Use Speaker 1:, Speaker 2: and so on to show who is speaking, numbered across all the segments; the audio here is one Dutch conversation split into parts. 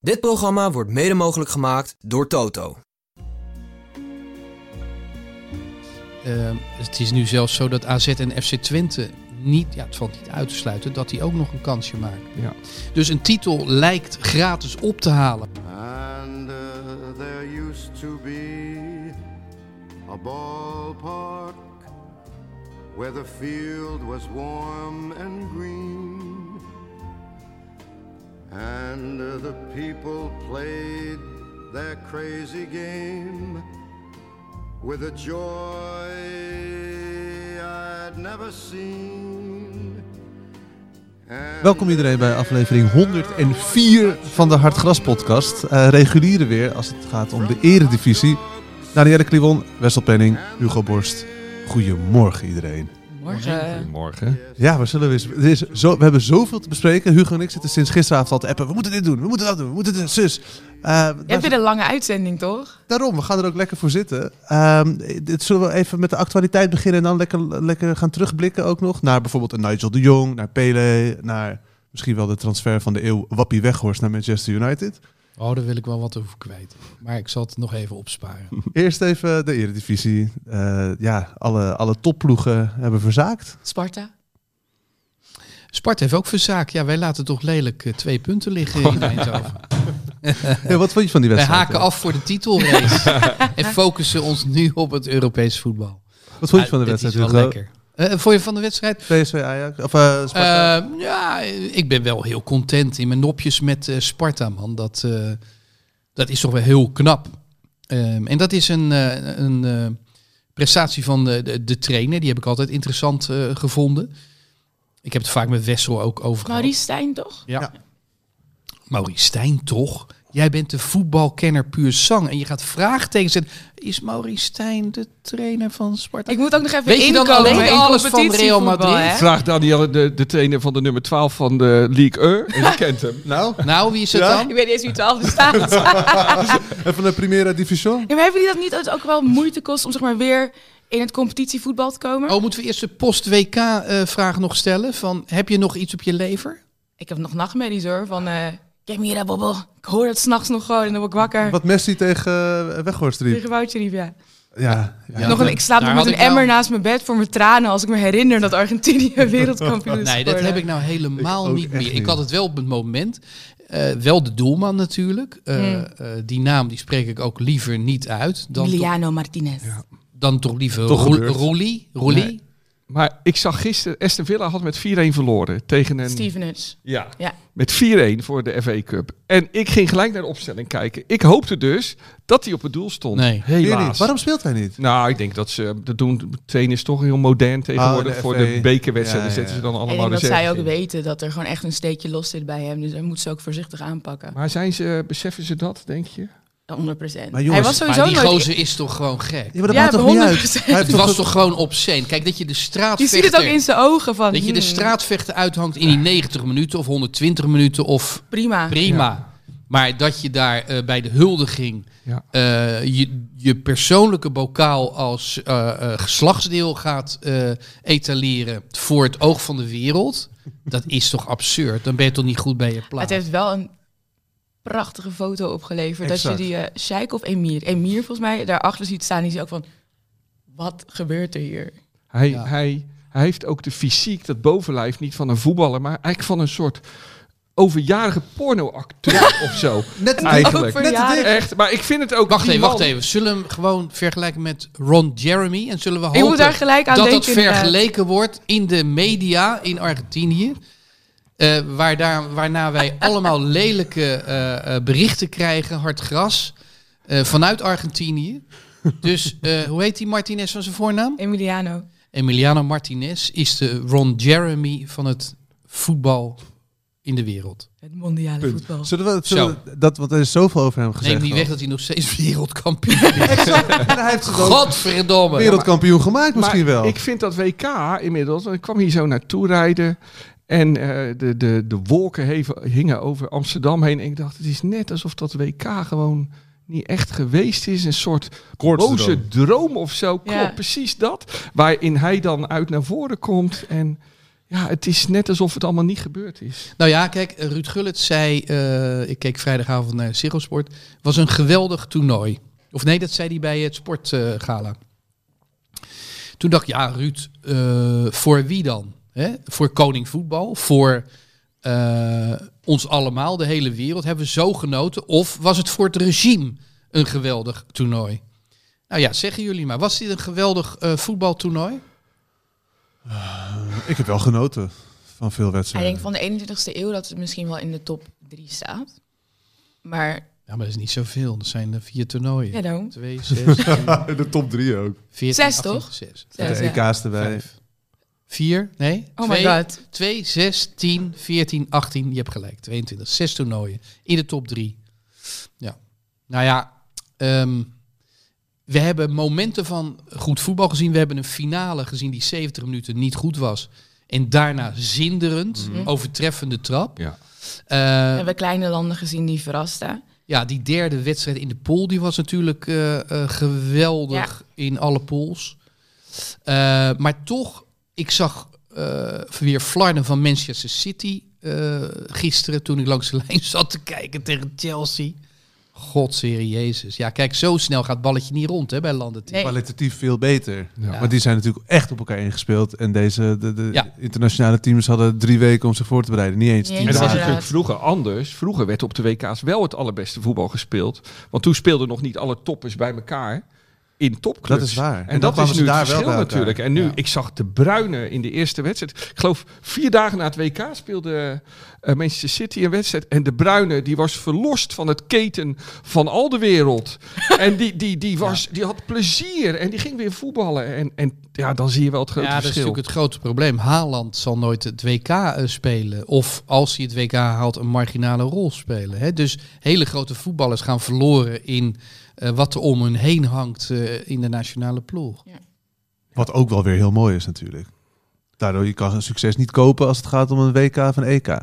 Speaker 1: Dit programma wordt mede mogelijk gemaakt door Toto.
Speaker 2: Ehm, het is nu zelfs zo dat AZ en FC Twente niet, ja, het valt niet uit te sluiten, dat die ook nog een kansje maken.
Speaker 3: Ja.
Speaker 2: Dus een titel lijkt gratis op te halen.
Speaker 4: And uh, there used to be a ballpark where the field was warm and green. And uh, the people played their crazy game with a joy I'd never seen. And
Speaker 3: Welkom iedereen bij aflevering 104 van de Hartgras podcast. Eh reguliere weer als het gaat om de eredivisie. Danielle Kliwon, Wessel Penning, Hugo Borst. Goedemorgen iedereen.
Speaker 5: Morgen.
Speaker 6: Morgen.
Speaker 3: Ja, we, zullen weer, er is zo, we hebben zoveel te bespreken. Hugo en ik zitten sinds gisteravond al te appen. We moeten dit doen, we moeten dat doen, we moeten dit, zus. Eh,
Speaker 5: Je hebt weer een lange uitzending, toch?
Speaker 3: Daarom, we gaan er ook lekker voor zitten. Ehm, dit zullen we even met de actualiteit beginnen en dan lekker, lekker gaan terugblikken ook nog. Naar bijvoorbeeld een Nigel de Jong, naar Pele, naar misschien wel de transfer van de eeuw Wappie Weghorst naar Manchester United.
Speaker 2: Oh, daar wil ik wel wat over kwijt. Maar ik zal het nog even opsparen.
Speaker 3: Eerst even de Eredivisie. Eh, ja, alle, alle topploegen hebben verzaakt.
Speaker 5: Sparta.
Speaker 2: Sparta heeft ook verzaakt. Ja, wij laten toch lelijk eh, twee punten liggen
Speaker 3: Oh,
Speaker 2: in Eindhoven.
Speaker 3: Ja, wat vond je van die
Speaker 2: Wij
Speaker 3: wedstrijd?
Speaker 2: haken af voor de titelrace. en focussen ons nu op het Europees voetbal.
Speaker 3: Wat vond je
Speaker 2: Ah,
Speaker 3: van de
Speaker 2: dit
Speaker 3: wedstrijd?
Speaker 2: is wel
Speaker 3: Hugo?
Speaker 2: lekker. Eh, vond je van de wedstrijd?
Speaker 3: PSV Ajax? Of eh, Sparta?
Speaker 2: Eh, ja, ik ben wel heel content in mijn nopjes met eh, Sparta, man. Dat, eh, dat is toch wel heel knap. Ehm, en dat is een, eh, een eh, prestatie van de, de, de trainer. Die heb ik altijd interessant eh, gevonden. Ik heb het vaak met Wessel ook over gehad.
Speaker 5: Maurice Stijn, toch?
Speaker 2: Ja.
Speaker 3: Ja.
Speaker 2: Maurice Stijn, toch? Jij bent de voetbalkenner puur zang. En je gaat vraagtekens zetten. Is Maurice Stijn de trainer van Sparta?
Speaker 5: Ik moet ook nog even
Speaker 2: Weet je dan
Speaker 5: inkomen
Speaker 2: alleen
Speaker 5: in
Speaker 2: alles van
Speaker 5: competitievoetbal,
Speaker 2: Real Madrid?
Speaker 5: hè?
Speaker 6: Vraag Daniel de, de trainer van de nummer 12 van de League E. En je kent hem.
Speaker 3: Nou,
Speaker 2: Nou, wie is het
Speaker 3: Ja?
Speaker 2: dan?
Speaker 5: Ik weet niet eens wie 12 bestaat.
Speaker 2: Eh,
Speaker 3: even de Primera Division.
Speaker 5: Ja, maar hebben jullie dat niet dat het ook wel moeite kost om zeg maar weer in het competitievoetbal te komen?
Speaker 2: Oh, moeten we eerst de post-WK-vraag nog stellen? Van, heb je nog iets op je lever?
Speaker 5: Ik heb nog nachtmerries hoor, van eh Give me that bubble. Ik hoor het s'nachts nog gewoon en dan word ik wakker.
Speaker 3: Wat Messi tegen eh, Weghorst riep.
Speaker 5: Tegen Woutje Riep, ja.
Speaker 3: Ja, ja.
Speaker 2: Ja.
Speaker 5: nog een, ik slaap
Speaker 2: daar
Speaker 5: nog met
Speaker 2: had
Speaker 5: een
Speaker 2: ik nou-
Speaker 5: emmer naast mijn bed voor mijn tranen als ik me herinner dat Argentinië wereldkampioen is
Speaker 2: Nee, dat
Speaker 5: geworden.
Speaker 2: heb ik nou helemaal
Speaker 3: Ik ook
Speaker 2: niet
Speaker 3: echt
Speaker 2: meer. Ik
Speaker 3: niet.
Speaker 2: had het wel op het moment. Eh, wel de doelman natuurlijk. Eh,
Speaker 5: Hmm.
Speaker 2: eh, die naam die spreek ik ook liever niet uit. Dan, toch,
Speaker 5: Emiliano Martinez.
Speaker 2: dan toch liever
Speaker 3: Toch
Speaker 2: Roel-
Speaker 3: gebeurd.
Speaker 2: Roelie. Roelie?
Speaker 6: Nee. Maar ik zag gisteren, Aston Villa had met 4-1 verloren. Tegen een,
Speaker 5: Stevenage.
Speaker 6: Ja,
Speaker 5: Ja.
Speaker 6: met 4-1 voor de FA Cup. En ik ging gelijk naar de opstelling kijken. Ik hoopte dus dat hij op het doel stond.
Speaker 2: Nee.
Speaker 3: Weer niet.
Speaker 6: Helaas.
Speaker 3: Waarom speelt hij niet?
Speaker 6: Nou, ik denk dat ze... Dat doen, trainen is toch heel modern tegenwoordig.
Speaker 3: Oh, de
Speaker 6: voor
Speaker 3: FA.
Speaker 6: de bekerwedstrijden
Speaker 3: Ja, ja,
Speaker 6: zetten ze
Speaker 3: ja.
Speaker 6: dan
Speaker 5: Ik
Speaker 6: allemaal
Speaker 5: denk dat
Speaker 6: reserves
Speaker 5: zij ook
Speaker 6: in.
Speaker 5: weten dat er gewoon echt een steekje los zit bij hem. Dus hij moet ze ook voorzichtig aanpakken.
Speaker 6: Maar zijn ze, beseffen ze dat, denk je?
Speaker 5: 100
Speaker 3: Maar jongens,
Speaker 5: hij was
Speaker 2: Maar
Speaker 5: sowieso
Speaker 2: die
Speaker 5: nooit...
Speaker 2: gozer is toch gewoon gek?
Speaker 3: Ja, maar dat
Speaker 5: Ja,
Speaker 3: maakt toch niet uit?
Speaker 5: 100%.
Speaker 3: Hij heeft
Speaker 2: Het was
Speaker 3: het-
Speaker 2: toch gewoon obscene? Kijk, dat je de
Speaker 5: Je
Speaker 2: straatvechter...
Speaker 5: ziet het ook in zijn ogen van...
Speaker 2: Dat je de
Speaker 5: hmm,
Speaker 2: straatvechter uithangt in die 90 minuten of 120 minuten of
Speaker 5: Prima.
Speaker 2: prima. Maar dat je daar eh, bij de huldiging
Speaker 6: Ja.
Speaker 2: eh, je, je persoonlijke bokaal als eh, eh, geslachtsdeel gaat eh, etaleren voor het oog van de wereld, dat is toch absurd? Dan ben je toch niet goed bij je
Speaker 5: Het
Speaker 2: plaats?
Speaker 5: heeft wel een prachtige foto opgeleverd.
Speaker 3: Exact.
Speaker 5: Dat je die eh Sheik of Emir... Emir volgens mij daarachter ziet staan. Die ziet ook van... Wat gebeurt er hier?
Speaker 6: Hij,
Speaker 2: Ja.
Speaker 6: hij, hij heeft ook de fysiek, dat bovenlijf, niet van een voetballer, maar eigenlijk van een soort overjarige pornoacteur of zo.
Speaker 3: Net
Speaker 6: Eigenlijk.
Speaker 3: Net
Speaker 5: Ook
Speaker 3: te
Speaker 5: verjaardag.
Speaker 3: dik.
Speaker 6: Echt, maar ik vind het ook.
Speaker 2: Wacht
Speaker 6: die
Speaker 2: even, wacht
Speaker 6: man-
Speaker 2: even. Zullen we hem gewoon vergelijken met Ron Jeremy? En zullen we
Speaker 5: Ik moet daar
Speaker 2: hopen
Speaker 5: gelijk aan
Speaker 2: dat dat
Speaker 5: denken. eh, inderdaad.
Speaker 2: vergeleken wordt in de media in Argentinië? eh, waar daar, waarna wij allemaal lelijke eh, eh, berichten krijgen, hard gras, eh, vanuit Argentinië. Dus eh, hoe heet die Martinez van zijn voornaam?
Speaker 5: Emiliano.
Speaker 2: Emiliano Martinez is de Ron Jeremy van het voetbal in de wereld.
Speaker 5: Het mondiale voetbal.
Speaker 3: Zullen we, zullen we- dat, want er is zoveel over hem gezegd.
Speaker 2: Neem niet
Speaker 3: al.
Speaker 2: weg dat hij nog steeds wereldkampioen is.
Speaker 3: En hij heeft ze dan
Speaker 2: Godverdomme!
Speaker 3: wereldkampioen gemaakt
Speaker 6: Maar
Speaker 3: misschien wel.
Speaker 6: Ik vind dat WK inmiddels. want Ik kwam hier zo naartoe rijden. En eh, de, de, de wolken heven- hingen over Amsterdam heen. En ik dacht, het is net alsof dat WK gewoon niet echt geweest is. Een soort boze droom of zo.
Speaker 5: Ja.
Speaker 6: Klopt, precies dat. Waarin hij dan uit naar voren komt. En Ja, het is net alsof het allemaal niet gebeurd is.
Speaker 2: Nou ja, kijk, Ruud Gullit zei, eh, ik keek vrijdagavond naar Ziggo Sport, was een geweldig toernooi. Of nee, dat zei hij bij het sportgala. Toen dacht ik, ja Ruud, eh, voor wie dan? Hè? Voor koning voetbal? Voor eh, ons allemaal, de hele wereld? Hebben we zo genoten? Of was het voor het regime een geweldig toernooi? Nou ja, zeggen jullie maar. Was dit een geweldig eh, voetbaltoernooi?
Speaker 3: Ik heb wel genoten van veel
Speaker 5: Hij
Speaker 3: wedstrijden.
Speaker 5: denkt van de 21ste eeuw dat het misschien wel in de top 3 staat. Maar
Speaker 2: Ja, maar dat is niet zoveel. Dat zijn er vier toernooien.
Speaker 5: ja, daarom.
Speaker 2: Twee, zes,
Speaker 3: In de top drie ook.
Speaker 2: 14,
Speaker 5: Zes,
Speaker 2: 18,
Speaker 5: toch?
Speaker 2: zes.
Speaker 5: Ja,
Speaker 3: Met de
Speaker 5: ja.
Speaker 3: EK's erbij.
Speaker 2: Vijf. Vier, nee.
Speaker 5: Oh my god.
Speaker 2: 2, 6, 10, 14, 18. Je hebt gelijk. 22. Zes toernooien in de top drie. Ja. Nou ja, ehm, we hebben momenten van goed voetbal gezien. We hebben een finale gezien die 70 minuten niet goed was. En daarna zinderend,
Speaker 5: Mhm.
Speaker 2: overtreffende trap.
Speaker 6: Ja.
Speaker 2: Eh,
Speaker 5: We hebben kleine landen gezien die verrasten.
Speaker 2: ja, die derde wedstrijd in de pool, die was natuurlijk eh, eh, geweldig in alle pools. Eh, maar toch, ik zag eh, weer flarden van Manchester City eh, gisteren toen ik langs de lijn zat te kijken tegen Chelsea. Godserie Jezus. Ja, kijk, zo snel gaat het balletje niet rond hè, bij landen.
Speaker 5: Nee.
Speaker 3: Kwalitatief veel beter.
Speaker 6: Ja.
Speaker 3: Want die zijn natuurlijk echt op elkaar ingespeeld. En deze de, de
Speaker 2: Ja.
Speaker 3: internationale teams hadden drie weken om zich voor te bereiden. Niet eens tien
Speaker 5: Niet
Speaker 6: En
Speaker 5: eens,
Speaker 6: dat was
Speaker 3: dagen.
Speaker 5: inderdaad.
Speaker 6: natuurlijk vroeger anders. Vroeger werd op de WK's wel het allerbeste voetbal gespeeld. Want toen speelden nog niet alle toppers bij elkaar in topclubs.
Speaker 3: Dat is waar.
Speaker 6: En,
Speaker 3: En dan
Speaker 6: dat
Speaker 3: kwamen
Speaker 6: is
Speaker 3: ze
Speaker 6: nu het
Speaker 3: daar wel
Speaker 6: verschil
Speaker 3: bij elkaar.
Speaker 6: natuurlijk. En nu,
Speaker 2: Ja.
Speaker 6: ik zag de Bruyne in de eerste wedstrijd. Ik geloof vier dagen na het WK speelde eh, Manchester City een wedstrijd. En de Bruyne die was verlost van het keten van al de wereld. en die, die, die, was, die had plezier. En die ging weer voetballen. En, en ja, dan zie je wel het grote
Speaker 2: ja, dat is
Speaker 6: verschil.
Speaker 2: natuurlijk het grote probleem. Haaland zal nooit het WK eh, spelen. Of als hij het WK haalt, een marginale rol spelen. Hè? Dus hele grote voetballers gaan verloren in eh, wat er om hun heen hangt eh, in de nationale ploeg.
Speaker 3: Wat ook wel weer heel mooi is natuurlijk. Daardoor je kan succes niet kopen als het gaat om een E WK van EK.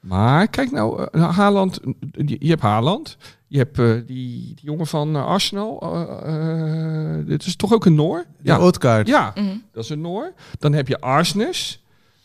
Speaker 6: Maar kijk nou, eh, Haaland, je, je hebt Haaland, je hebt eh, die, die jongen van eh, Arsenal, eh, eh, dit is toch ook een Noor?
Speaker 3: Ja.
Speaker 6: Ja,
Speaker 3: Ootkaart.
Speaker 6: ja,
Speaker 5: Mhm.
Speaker 6: dat is een Noor. Dan heb je Arsnes,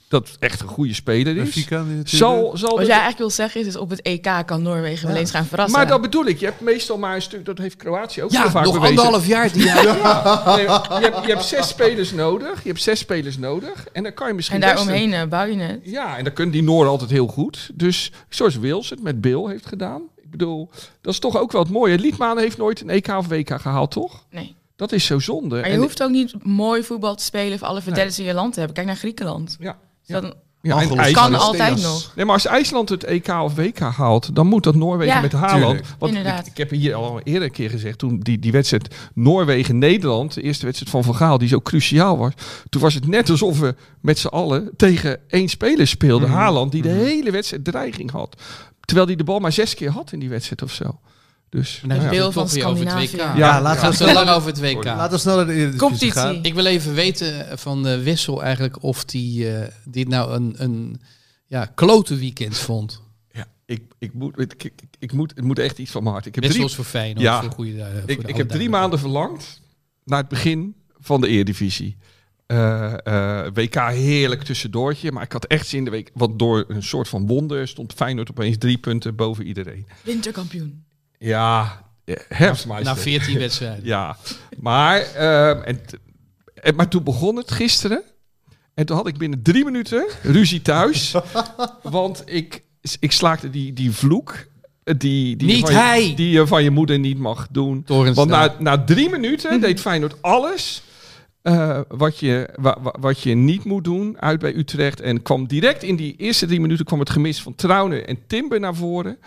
Speaker 6: dat echt een goede speler is.
Speaker 3: Benfica nu natuurlijk.
Speaker 6: Zal, zal
Speaker 5: Wat
Speaker 6: dat-
Speaker 5: jij eh, eigenlijk wil zeggen is, is op het EK kan Noorwegen wel eens gaan verrassen.
Speaker 6: maar dat bedoel ik, je hebt meestal maar een stuk, dat heeft Kroatië ook heel
Speaker 2: Ja,
Speaker 6: vaak
Speaker 2: nog
Speaker 6: bewezen.
Speaker 2: anderhalf jaar. Die
Speaker 6: Nee, je, hebt, je hebt zes spelers nodig, je hebt zes spelers nodig en dan kan je misschien
Speaker 5: en
Speaker 6: best een-
Speaker 5: daaromheen eh, bouw je het.
Speaker 6: Ja, en dan kunnen die Noorden altijd heel goed. Dus zoals Wils het met Bill heeft gedaan. Ik bedoel, dat is toch ook wel het mooie. Liedman heeft nooit een EK of WK gehaald, toch?
Speaker 5: Nee.
Speaker 6: Dat is zo zonde.
Speaker 5: Maar je
Speaker 6: En-
Speaker 5: hoeft ook niet mooi voetbal te spelen of alle verdedigers in je land te hebben. Kijk naar Griekenland.
Speaker 6: Ja.
Speaker 5: Dus dan
Speaker 6: ja, en
Speaker 3: Angelos
Speaker 5: kan
Speaker 6: IJsland-
Speaker 5: altijd nog.
Speaker 6: Nee, maar als IJsland het EK of WK haalt, dan moet dat Noorwegen
Speaker 5: Ja.
Speaker 6: met Haaland.
Speaker 3: Tuurlijk.
Speaker 6: Want ik,
Speaker 5: Inderdaad.
Speaker 6: ik heb hier al eerder een keer gezegd, toen die, die wedstrijd Noorwegen-Nederland, de eerste wedstrijd van Van Gaal, die zo cruciaal was. Toen was het net alsof we met z'n allen tegen één speler speelden, Haaland, die de hele wedstrijd dreiging had. Terwijl hij de bal maar zes keer had in die wedstrijd of zo. Dus,
Speaker 2: Dan
Speaker 6: nou ja.
Speaker 2: hebben we het
Speaker 5: Deel van
Speaker 2: toch weer over het WK.
Speaker 5: Scandinavië.
Speaker 2: Ja,
Speaker 3: Ja, laten
Speaker 2: gaat
Speaker 3: we
Speaker 2: te lang over het WK.
Speaker 3: Laten we snel naar de Eredivisie
Speaker 5: Competitie.
Speaker 3: gaan.
Speaker 2: Ik wil even weten van eh, Wessel eigenlijk of die eh, dit nou een, een ja, klote weekend vond.
Speaker 6: Ja, ik, ik, moet, ik, ik, ik moet, het moet echt iets van mijn hart. Ik heb
Speaker 2: Wessel
Speaker 6: drie,
Speaker 2: is voor Feyenoord.
Speaker 6: Ja.
Speaker 2: voor goede, eh, voor de
Speaker 6: ik, ik
Speaker 2: oude
Speaker 6: heb drie
Speaker 2: duivel.
Speaker 6: maanden verlangd naar het begin van de Eredivisie. Eh, eh, WK heerlijk tussendoortje, maar ik had echt zin in de week. Want door een soort van wonder stond Feyenoord opeens drie punten boven iedereen.
Speaker 5: Winterkampioen.
Speaker 6: Ja, eh, herfstmeister.
Speaker 2: Na 14 wedstrijden.
Speaker 6: Ja, maar, ehm, en, t- en- maar toen begon het gisteren. En toen had ik binnen drie minuten ruzie thuis. want ik, ik slaakte die, die vloek. eh, Die, die je
Speaker 2: Niet
Speaker 6: van je-
Speaker 2: hij!
Speaker 6: die je van je moeder niet mag doen.
Speaker 2: Torenstra.
Speaker 6: Want nou- na, na drie minuten deed Feyenoord alles eh, wat, je, wa- wa- wat je niet moet doen uit bij Utrecht. En kwam direct in die eerste drie minuten kwam het gemis van Trauner en Timber naar voren.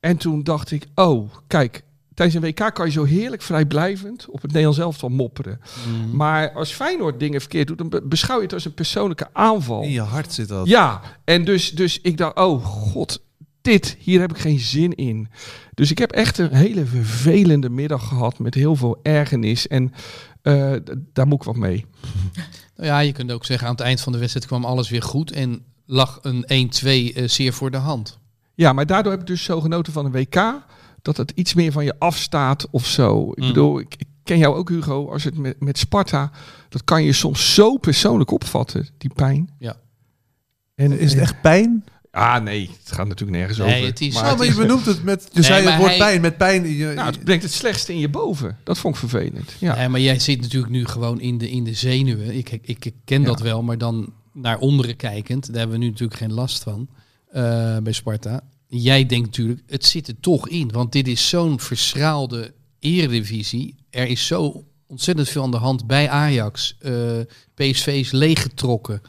Speaker 6: En toen dacht ik, oh, kijk, tijdens een WK kan je zo heerlijk vrijblijvend op het Nederlands elftal mopperen. Maar als Feyenoord dingen verkeerd doet, dan be- beschouw je het als een persoonlijke aanval.
Speaker 3: In je hart zit dat.
Speaker 6: Ja, en dus, dus ik dacht, oh god, dit, hier heb ik geen zin in. Dus ik heb echt een hele vervelende middag gehad met heel veel ergernis. En eh, d- daar moet ik wat mee.
Speaker 2: Nou ja, je kunt ook zeggen, aan het eind van de wedstrijd kwam alles weer goed en lag een 1-2 eh, zeer voor de hand.
Speaker 6: Ja, maar daardoor heb ik dus zo genoten van een WK. Dat het iets meer van je afstaat of zo. Ik
Speaker 2: Mm.
Speaker 6: bedoel, ik, ik ken jou ook Hugo, als het met, met Sparta, dat kan je soms zo persoonlijk opvatten, die pijn.
Speaker 2: Ja.
Speaker 6: En
Speaker 3: Is het echt pijn?
Speaker 6: Ah nee, het gaat natuurlijk nergens
Speaker 2: Nee,
Speaker 6: over.
Speaker 2: het is-
Speaker 6: maar
Speaker 2: Oh,
Speaker 6: het,
Speaker 3: maar
Speaker 6: is-
Speaker 3: je benoemt het met... Je
Speaker 2: Nee,
Speaker 3: zei het
Speaker 2: maar
Speaker 3: woord
Speaker 2: hij-
Speaker 3: pijn met pijn. in Je,
Speaker 6: nou, het brengt het slechtste in je boven. Dat vond ik vervelend. Ja.
Speaker 2: Nee, Eh, maar jij zit natuurlijk nu gewoon in de, in de zenuwen. Ik, ik, ik ken
Speaker 6: Ja.
Speaker 2: dat wel, maar dan naar onderen kijkend, daar hebben we nu natuurlijk geen last van eh, bij Sparta. Jij denkt natuurlijk, het zit er toch in, want dit is zo'n verschraalde eredivisie. Er is zo ontzettend veel aan de hand bij Ajax. Eh, PSV is leeggetrokken.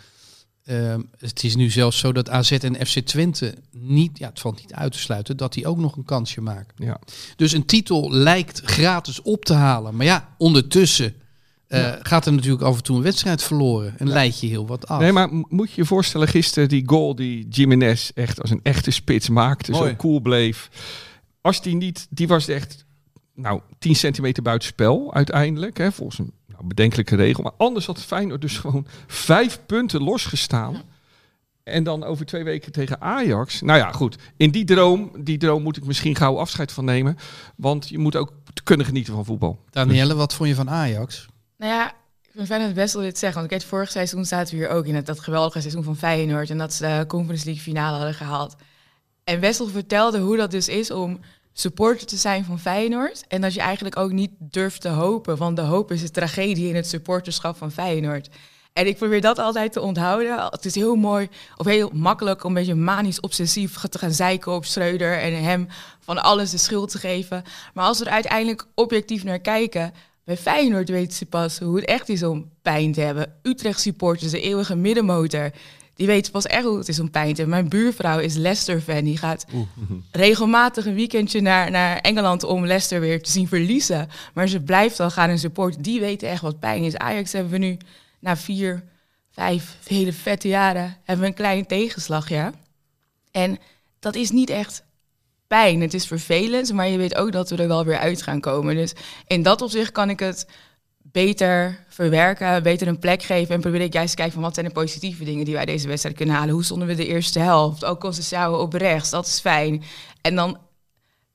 Speaker 2: Ehm, het is nu zelfs zo dat AZ en FC Twente niet, ja, het valt niet uit te sluiten, dat die ook nog een kansje maken.
Speaker 6: Ja.
Speaker 2: Dus een titel lijkt gratis op te halen. Maar ja, ondertussen eh, gaat er natuurlijk af en toe een wedstrijd verloren. En leid je heel wat af.
Speaker 6: Nee, maar m- moet je je voorstellen gisteren die goal die Jiménez echt als een echte spits maakte,
Speaker 3: Mooi.
Speaker 6: zo cool bleef. Als die niet, die was echt, nou, 10 centimeter buitenspel uiteindelijk, hè, volgens een nou, bedenkelijke regel. Maar anders had Feyenoord dus gewoon vijf punten losgestaan. En dan over twee weken tegen Ajax. Nou ja, goed. In die droom, die droom moet ik misschien gauw afscheid van nemen. Want je moet ook kunnen genieten van voetbal.
Speaker 2: Danielle, wat vond je van Ajax?
Speaker 5: Nou ja, ik vind Feyenoord best wel dit zeggen. Want ik weet, vorig seizoen zaten we hier ook in het, dat geweldige seizoen van Feyenoord. En dat ze de Conference League finale hadden gehaald. En Wessel vertelde hoe dat dus is om supporter te zijn van Feyenoord. En dat je eigenlijk ook niet durft te hopen. Want de hoop is de tragedie in het supporterschap van Feyenoord. En ik probeer dat altijd te onthouden. Het is heel mooi of heel makkelijk om een beetje manisch obsessief te gaan zeiken op Schreuder. En hem van alles de schuld te geven. Maar als we er uiteindelijk objectief naar kijken. Bij Feyenoord weten ze pas hoe het echt is om pijn te hebben. Utrecht supporters, de eeuwige middenmotor. Die weten pas echt hoe het is om pijn te hebben. Mijn buurvrouw is Leicester-fan. Die gaat regelmatig een weekendje naar, naar Engeland om Leicester weer te zien verliezen. Maar ze blijft al gaan en support. Die weten echt wat pijn is. Ajax hebben we nu na vier, vijf hele vette jaren... hebben we een kleine tegenslag, ja. En dat is niet echt pijn. Het is vervelend, maar je weet ook dat we er wel weer uit gaan komen. Dus in dat opzicht kan ik het beter verwerken, beter een plek geven. En probeer ik juist te kijken van wat zijn de positieve dingen die wij deze wedstrijd kunnen halen. Hoe stonden we de eerste helft? Ook Concessao op rechts, dat is fijn. En dan